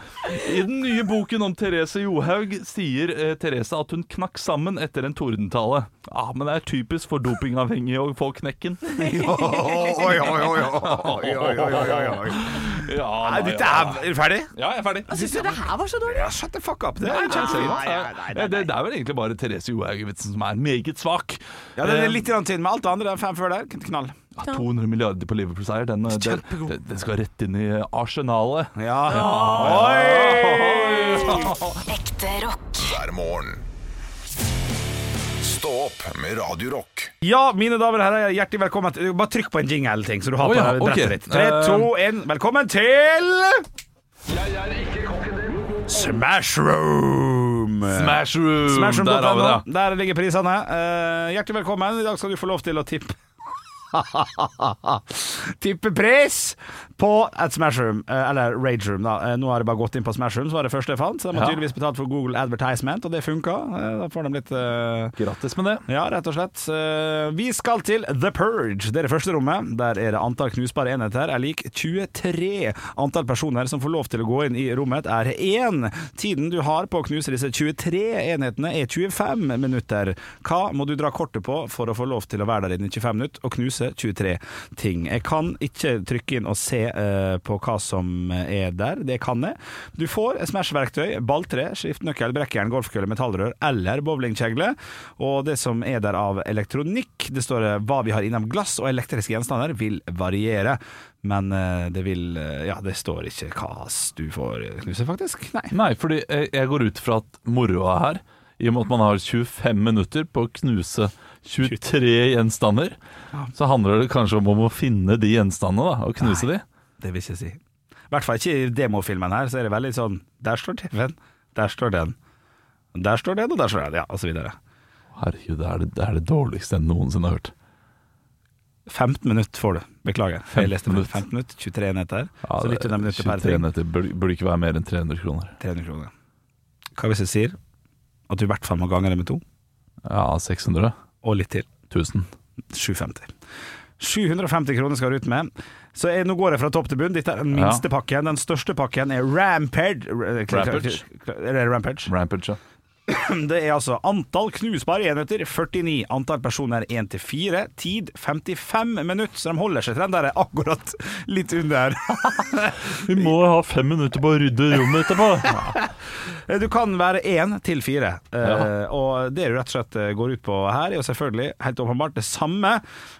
[SPEAKER 3] I den nye boken om Therese Johaug sier eh, Therese at hun knakk sammen etter en tordentale. Ah, men det er typisk for dopingavhengige å få knekken.
[SPEAKER 6] Oi, oi, oi, oi, oi, oi, oi, oi, oi.
[SPEAKER 3] Ja,
[SPEAKER 6] Nei, dette er Er du ferdig?
[SPEAKER 3] Ja, jeg er ferdig.
[SPEAKER 4] Syns du det her var så dårlig?
[SPEAKER 6] Ja, shut the fuck up. Det
[SPEAKER 3] Det
[SPEAKER 6] er
[SPEAKER 3] er,
[SPEAKER 6] kjent seriøst.
[SPEAKER 3] Eh, det, det er vel egentlig bare Therese Johaug-vitsen som er meget svak.
[SPEAKER 6] Ja, den er litt grann tynn, men alt det andre er fem før der. Knall.
[SPEAKER 3] Eh, 200 milliarder på Liverpool-seier, den, eh, den,
[SPEAKER 6] Kjempegod.
[SPEAKER 3] den- den skal rett inn i arsenalet.
[SPEAKER 6] Ja. Oi!
[SPEAKER 7] Ekte rock.
[SPEAKER 2] hver morgen. Stå opp med Radio Rock.
[SPEAKER 6] Ja, mine damer og herrer, hjertelig velkommen til Bare trykk på en jingle-ting, så du
[SPEAKER 3] Å,
[SPEAKER 6] har på
[SPEAKER 3] ja,
[SPEAKER 6] deg brettet
[SPEAKER 3] ok.
[SPEAKER 6] ditt. Tre,
[SPEAKER 3] Eh.
[SPEAKER 6] to, én, velkommen til
[SPEAKER 3] Smashroom!
[SPEAKER 6] Smashroom.
[SPEAKER 3] Der har vi det.
[SPEAKER 6] Smashroom.no.
[SPEAKER 3] ja.
[SPEAKER 6] Der ligger prisene. Eh, hjertelig velkommen. I dag skal du få lov til å tippe Tippe pris på et Smashroom, eh, eller Rageroom. Da. Eh, Nå har jeg bare gått inn på Smashroom, som var det første jeg fant. Så de har
[SPEAKER 3] Ja.
[SPEAKER 6] tydeligvis betalt for Google Advertisement, og det funka. Eh, Da får de litt eh,
[SPEAKER 3] Grattis med det.
[SPEAKER 6] ja, rett og slett. Eh, Vi skal til The Purge. Det er det første rommet. Der er det antall knusbare enheter er lik 23. Antall personer som får lov til å gå inn i rommet, er 1. Tiden du har på å knuse disse 23 enhetene, er 25 minutter. Hva må du dra kortet på for å få lov til å være der inne i 25 minutter og knuse 23 ting? Jeg kan ikke trykke inn og se eh, på hva som eh, er der. Det kan jeg. Du får Smash-verktøy, balltre, skiftenøkkel, brekkjern, golfkølle, metallrør eller bowlingkjegle. Og det som er der av elektronikk, det står eh, hva vi har innom glass og elektriske gjenstander, vil variere. Men eh, det vil eh, Ja, det står ikke hva du får knuse, faktisk. Nei.
[SPEAKER 3] Nei, fordi jeg, jeg går ut fra at moroa her I og med at man har 25 minutter på å knuse 23 gjenstander Så handler det kanskje om å finne de gjenstandene da Og knuse de
[SPEAKER 6] Det vil jeg ikke si. I hvert fall ikke i demofilmen her, så er det veldig sånn Der står TV-en, der står den. Der står den, og der står den, ja, og så videre.
[SPEAKER 3] Herregud, det er det, det er det dårligste jeg noensinne har hørt
[SPEAKER 6] 15 minutter får du. Beklager. Jeg leste
[SPEAKER 3] 15 minutt.
[SPEAKER 6] 15 minutter, minutt, 23 enheter.
[SPEAKER 3] Ja,
[SPEAKER 6] så litt under minuttet per
[SPEAKER 3] 23
[SPEAKER 6] ting.
[SPEAKER 3] netter burde, burde ikke være mer enn 300 kroner
[SPEAKER 6] 300 kroner. Hva hvis jeg sier at du i hvert fall må gange det med to,
[SPEAKER 3] Ja, 600
[SPEAKER 6] og litt til?
[SPEAKER 3] 1000
[SPEAKER 6] 750. 750 kroner skal du ut med. Så jeg, nå går jeg fra topp til bunn. Dette er den minste pakken. Den største pakken er Rampage.
[SPEAKER 3] Rampage?
[SPEAKER 6] Er det Rampage?
[SPEAKER 3] Rampage, ja
[SPEAKER 6] Det er altså antall knusbare enheter 49, antall personer 1 til 4, tid 55 minutter. Så de holder seg til den der akkurat litt under.
[SPEAKER 3] Vi må ha fem minutter på å rydde rommet etterpå
[SPEAKER 6] Eh, Du kan være 1 til 4.
[SPEAKER 3] Ja.
[SPEAKER 6] Og det du rett og slett eh, går ut på her, er jo selvfølgelig helt åpenbart det samme.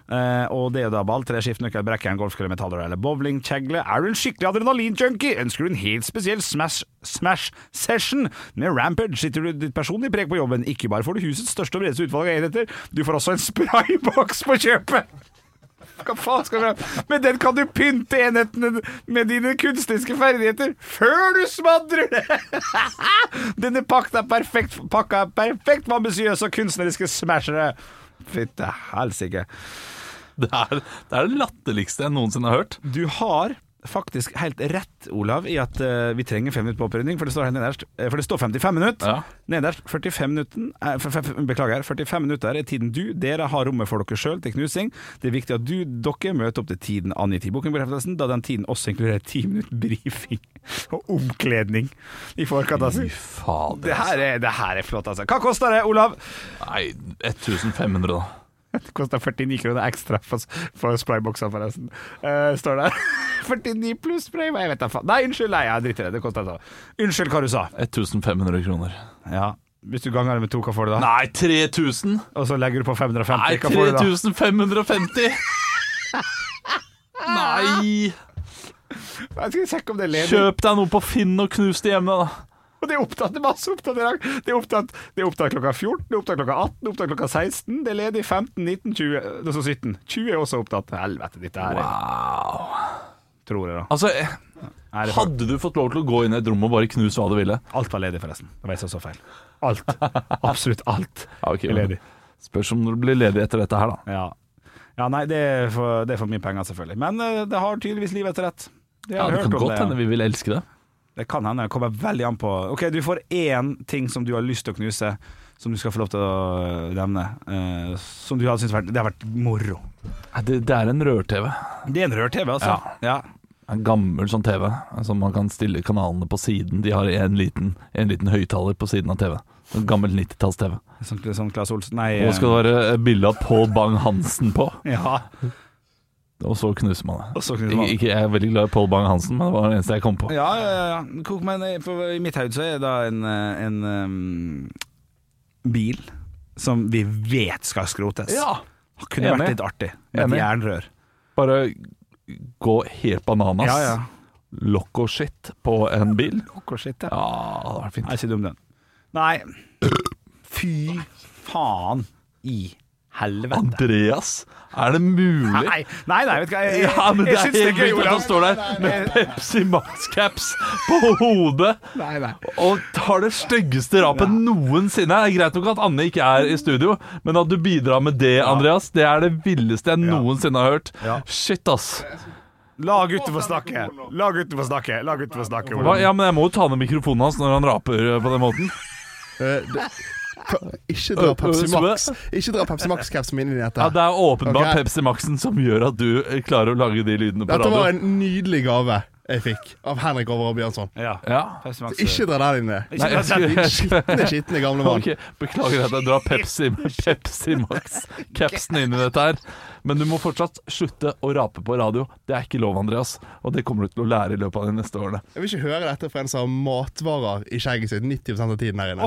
[SPEAKER 6] Eh, Og det er jo da ball, tre skiftenøkkel, brekkjern, golfkølle, metaller eller bowlingkjegle. Er du en skikkelig adrenalinjunkie, ønsker du en helt spesiell smash, smash session med Rampage, sitter du ditt personlige preg på jobben. Ikke bare får du husets største og bredeste utvalg av enheter, du får også en sprayboks på kjøpet! Hva faen skal du ha? Med den kan du pynte enhetene med dine kunstneriske ferdigheter før du smadrer det! Denne pakka er perfekt Pakka er perfekt for ambisiøse og kunstneriske smashere. Fytte helsike.
[SPEAKER 3] det er, det er det latterligste jeg noensinne har hørt
[SPEAKER 6] Du har faktisk helt rett, Olav, i at eh, vi trenger fem minutter på opprydning, for det står helt nederst. eh, For det står 55 minutter.
[SPEAKER 3] Ja.
[SPEAKER 6] Nederst 45 minutter eh, f- f- Beklager. 45 minutter er tiden du, dere, har rommet for dere sjøl til knusing. Det er viktig at du, dere, møter opp til tiden angitt i bookingbekreftelsen, da den tiden også inkluderer 10 minutter brifing og omkledning i forkant. Altså.
[SPEAKER 3] Fy fader
[SPEAKER 6] Det her, er, det her er flott, altså. Hva koster det, Olav?
[SPEAKER 3] Nei, 1500 da
[SPEAKER 6] Det koster 49 kroner ekstra for, for sprayboksa, forresten. Eh, står der. 49 pluss spray? Jeg vet da faen. Nei, unnskyld, nei, jeg driter i det. Det koster det. Unnskyld hva du sa.
[SPEAKER 3] 1500 kroner
[SPEAKER 6] Ja. Hvis du ganger det med to, hva får du da?
[SPEAKER 3] Nei, 3000
[SPEAKER 6] Og så legger du på 550,
[SPEAKER 3] Nei,
[SPEAKER 6] hva får du da?
[SPEAKER 3] 3550! Nei!
[SPEAKER 6] Jeg skal sjekke om det er ledig.
[SPEAKER 3] Kjøp deg noe på Finn og knus det hjemme, da.
[SPEAKER 6] Og det er opptatt, det er masse opptatt i dag. Det er opptatt, det er opptatt klokka 14, det er opptatt klokka 18, det er opptatt klokka 16, det er ledig 15, 19, 20, det er så 17. 20 er også opptatt. Helvete, dette her er
[SPEAKER 3] Wow.
[SPEAKER 6] Tror jeg, da.
[SPEAKER 3] Altså, eh,
[SPEAKER 6] Nei, det var,
[SPEAKER 3] hadde du fått lov til å gå inn i et rom og bare knuse hva du ville?
[SPEAKER 6] alt var ledig, forresten. Det var jeg som så feil. Alt. Absolutt alt
[SPEAKER 3] Ja, ok,
[SPEAKER 6] er
[SPEAKER 3] men
[SPEAKER 6] ledig.
[SPEAKER 3] Spørs om du blir ledig etter dette her, da.
[SPEAKER 6] Ja. ja, nei, det er, for, det er for mye penger, selvfølgelig. Men eh, det har tydeligvis livet etter rett. Det,
[SPEAKER 3] Ja,
[SPEAKER 6] har
[SPEAKER 3] det
[SPEAKER 6] jeg
[SPEAKER 3] kan
[SPEAKER 6] hørt om
[SPEAKER 3] godt
[SPEAKER 6] det, ja.
[SPEAKER 3] hende vi vil elske det.
[SPEAKER 6] Det kan hende. Det kommer veldig an på Ok, du får én ting som du har lyst til å knuse, som du skal få lov til å nevne. eh, som du hadde syntes vært Det har vært moro.
[SPEAKER 3] Nei, Det, det er en rør-TV.
[SPEAKER 6] Det er en rør-TV, altså. Ja.
[SPEAKER 3] En gammel sånn TV som man kan stille kanalene på siden. De har en liten, en liten høyttaler på siden av TV. En gammel 90-talls-TV.
[SPEAKER 6] Sånn, sånn Claes Olsen Nei.
[SPEAKER 3] Og skal det være eh, bilde av Pål Bang-Hansen på,
[SPEAKER 6] eh, ja.
[SPEAKER 3] og så knuser man det.
[SPEAKER 6] Og så knuser man
[SPEAKER 3] Ik
[SPEAKER 6] det.
[SPEAKER 3] ikke, jeg er veldig glad i Pål Bang-Hansen, men det var det eneste jeg kom på.
[SPEAKER 6] Ja, ja, ja. Kok- Men eh, for, i mitt hode så er det da en, eh, en ehm, bil som vi vet skal skrotes. Det kunne
[SPEAKER 3] Enig.
[SPEAKER 6] vært litt artig med
[SPEAKER 3] Enig.
[SPEAKER 6] et jernrør.
[SPEAKER 3] Bare gå helt bananas.
[SPEAKER 6] Ja, ja.
[SPEAKER 3] Loco-shit på en bil.
[SPEAKER 6] Pokker shit, ja.
[SPEAKER 3] Ja, det hadde vært
[SPEAKER 6] Nei,
[SPEAKER 3] fint.
[SPEAKER 6] ikke dum den. Nei. Fy faen i helvete.
[SPEAKER 3] Andreas, er det mulig?
[SPEAKER 6] Nei, nei, nei, vet du hva jeg, jeg,
[SPEAKER 3] Ja, men det
[SPEAKER 6] jeg
[SPEAKER 3] er
[SPEAKER 6] syns det er
[SPEAKER 3] helt
[SPEAKER 6] gøy,
[SPEAKER 3] vilt at han
[SPEAKER 6] Olav. Eh,
[SPEAKER 3] står der med Pepsi Max-caps på hodet
[SPEAKER 6] Nei, nei.
[SPEAKER 3] og tar det styggeste rapet noensinne. Det er greit nok at Anne ikke er i studio, men at du bidrar med det, Andreas, det er det villeste jeg noensinne har hørt.
[SPEAKER 6] Ja.
[SPEAKER 3] Shit, ass.
[SPEAKER 6] La gutten få snakke. La gutten få snakke. La gutten få snakke,
[SPEAKER 3] Hva?
[SPEAKER 6] Olav.
[SPEAKER 3] Ja, men jeg må jo ta ned mikrofonen hans når han raper eh, på den måten.
[SPEAKER 8] Ikke dra Pepsi
[SPEAKER 3] Øh, øh,
[SPEAKER 8] Max Ikke dra Pepsi Max-kapsen min inn i dette.
[SPEAKER 3] Ja, Det er åpenbart
[SPEAKER 8] Ok.
[SPEAKER 3] Pepsi Maxen som gjør at du eh, klarer å lage de lydene på
[SPEAKER 8] Dette var
[SPEAKER 3] radio.
[SPEAKER 8] en nydelig gave jeg fikk av Henrik Over og Bjørnson.
[SPEAKER 6] Ja.
[SPEAKER 3] Ja.
[SPEAKER 6] Pepsi Max.
[SPEAKER 8] Ikke dra den inn i
[SPEAKER 3] Nei, jeg skulle, jeg skulle,
[SPEAKER 8] skitne, skitne gamle mann.
[SPEAKER 3] Ok, Beklager at jeg drar Pepsi, Pepsi Max-capsen inn i dette her. Men du må fortsatt slutte å rape på radio. Det er ikke lov, Andreas. Og det kommer du til å lære i løpet av de neste årene.
[SPEAKER 8] Jeg vil ikke høre dette fra en som har matvarer i skjegget sitt 90 av tiden her inne.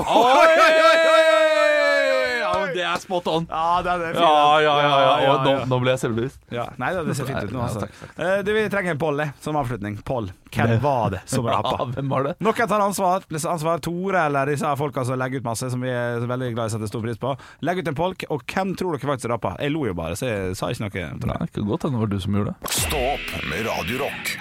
[SPEAKER 3] Ja, men det er spot on.
[SPEAKER 6] Ja, den er fin.
[SPEAKER 3] Ja, ja, ja. ja,
[SPEAKER 6] Ja,
[SPEAKER 3] Og
[SPEAKER 6] ja,
[SPEAKER 3] nå,
[SPEAKER 6] ja.
[SPEAKER 3] nå ble jeg selvbevisst.
[SPEAKER 6] Ja. Nei da, det ser fint ut nå,
[SPEAKER 3] Ja,
[SPEAKER 6] altså.
[SPEAKER 3] takk,
[SPEAKER 6] Eh, Du, vi trenger en poll jeg, som avslutning. Poll. Hvem var det som
[SPEAKER 3] Ja,
[SPEAKER 6] rapa?
[SPEAKER 3] hvem var det?
[SPEAKER 6] Noen tar ansvar. ansvar. Tore eller disse her folka som legger ut masse, som vi er veldig glad i og setter stor pris på. Legg ut en polk, og hvem tror dere faktisk rappa? Jeg lo jo bare, så jeg sa ikke noe.
[SPEAKER 3] Nei, det kan godt hende det var du som gjorde det.
[SPEAKER 2] Stå opp med Radio Rock.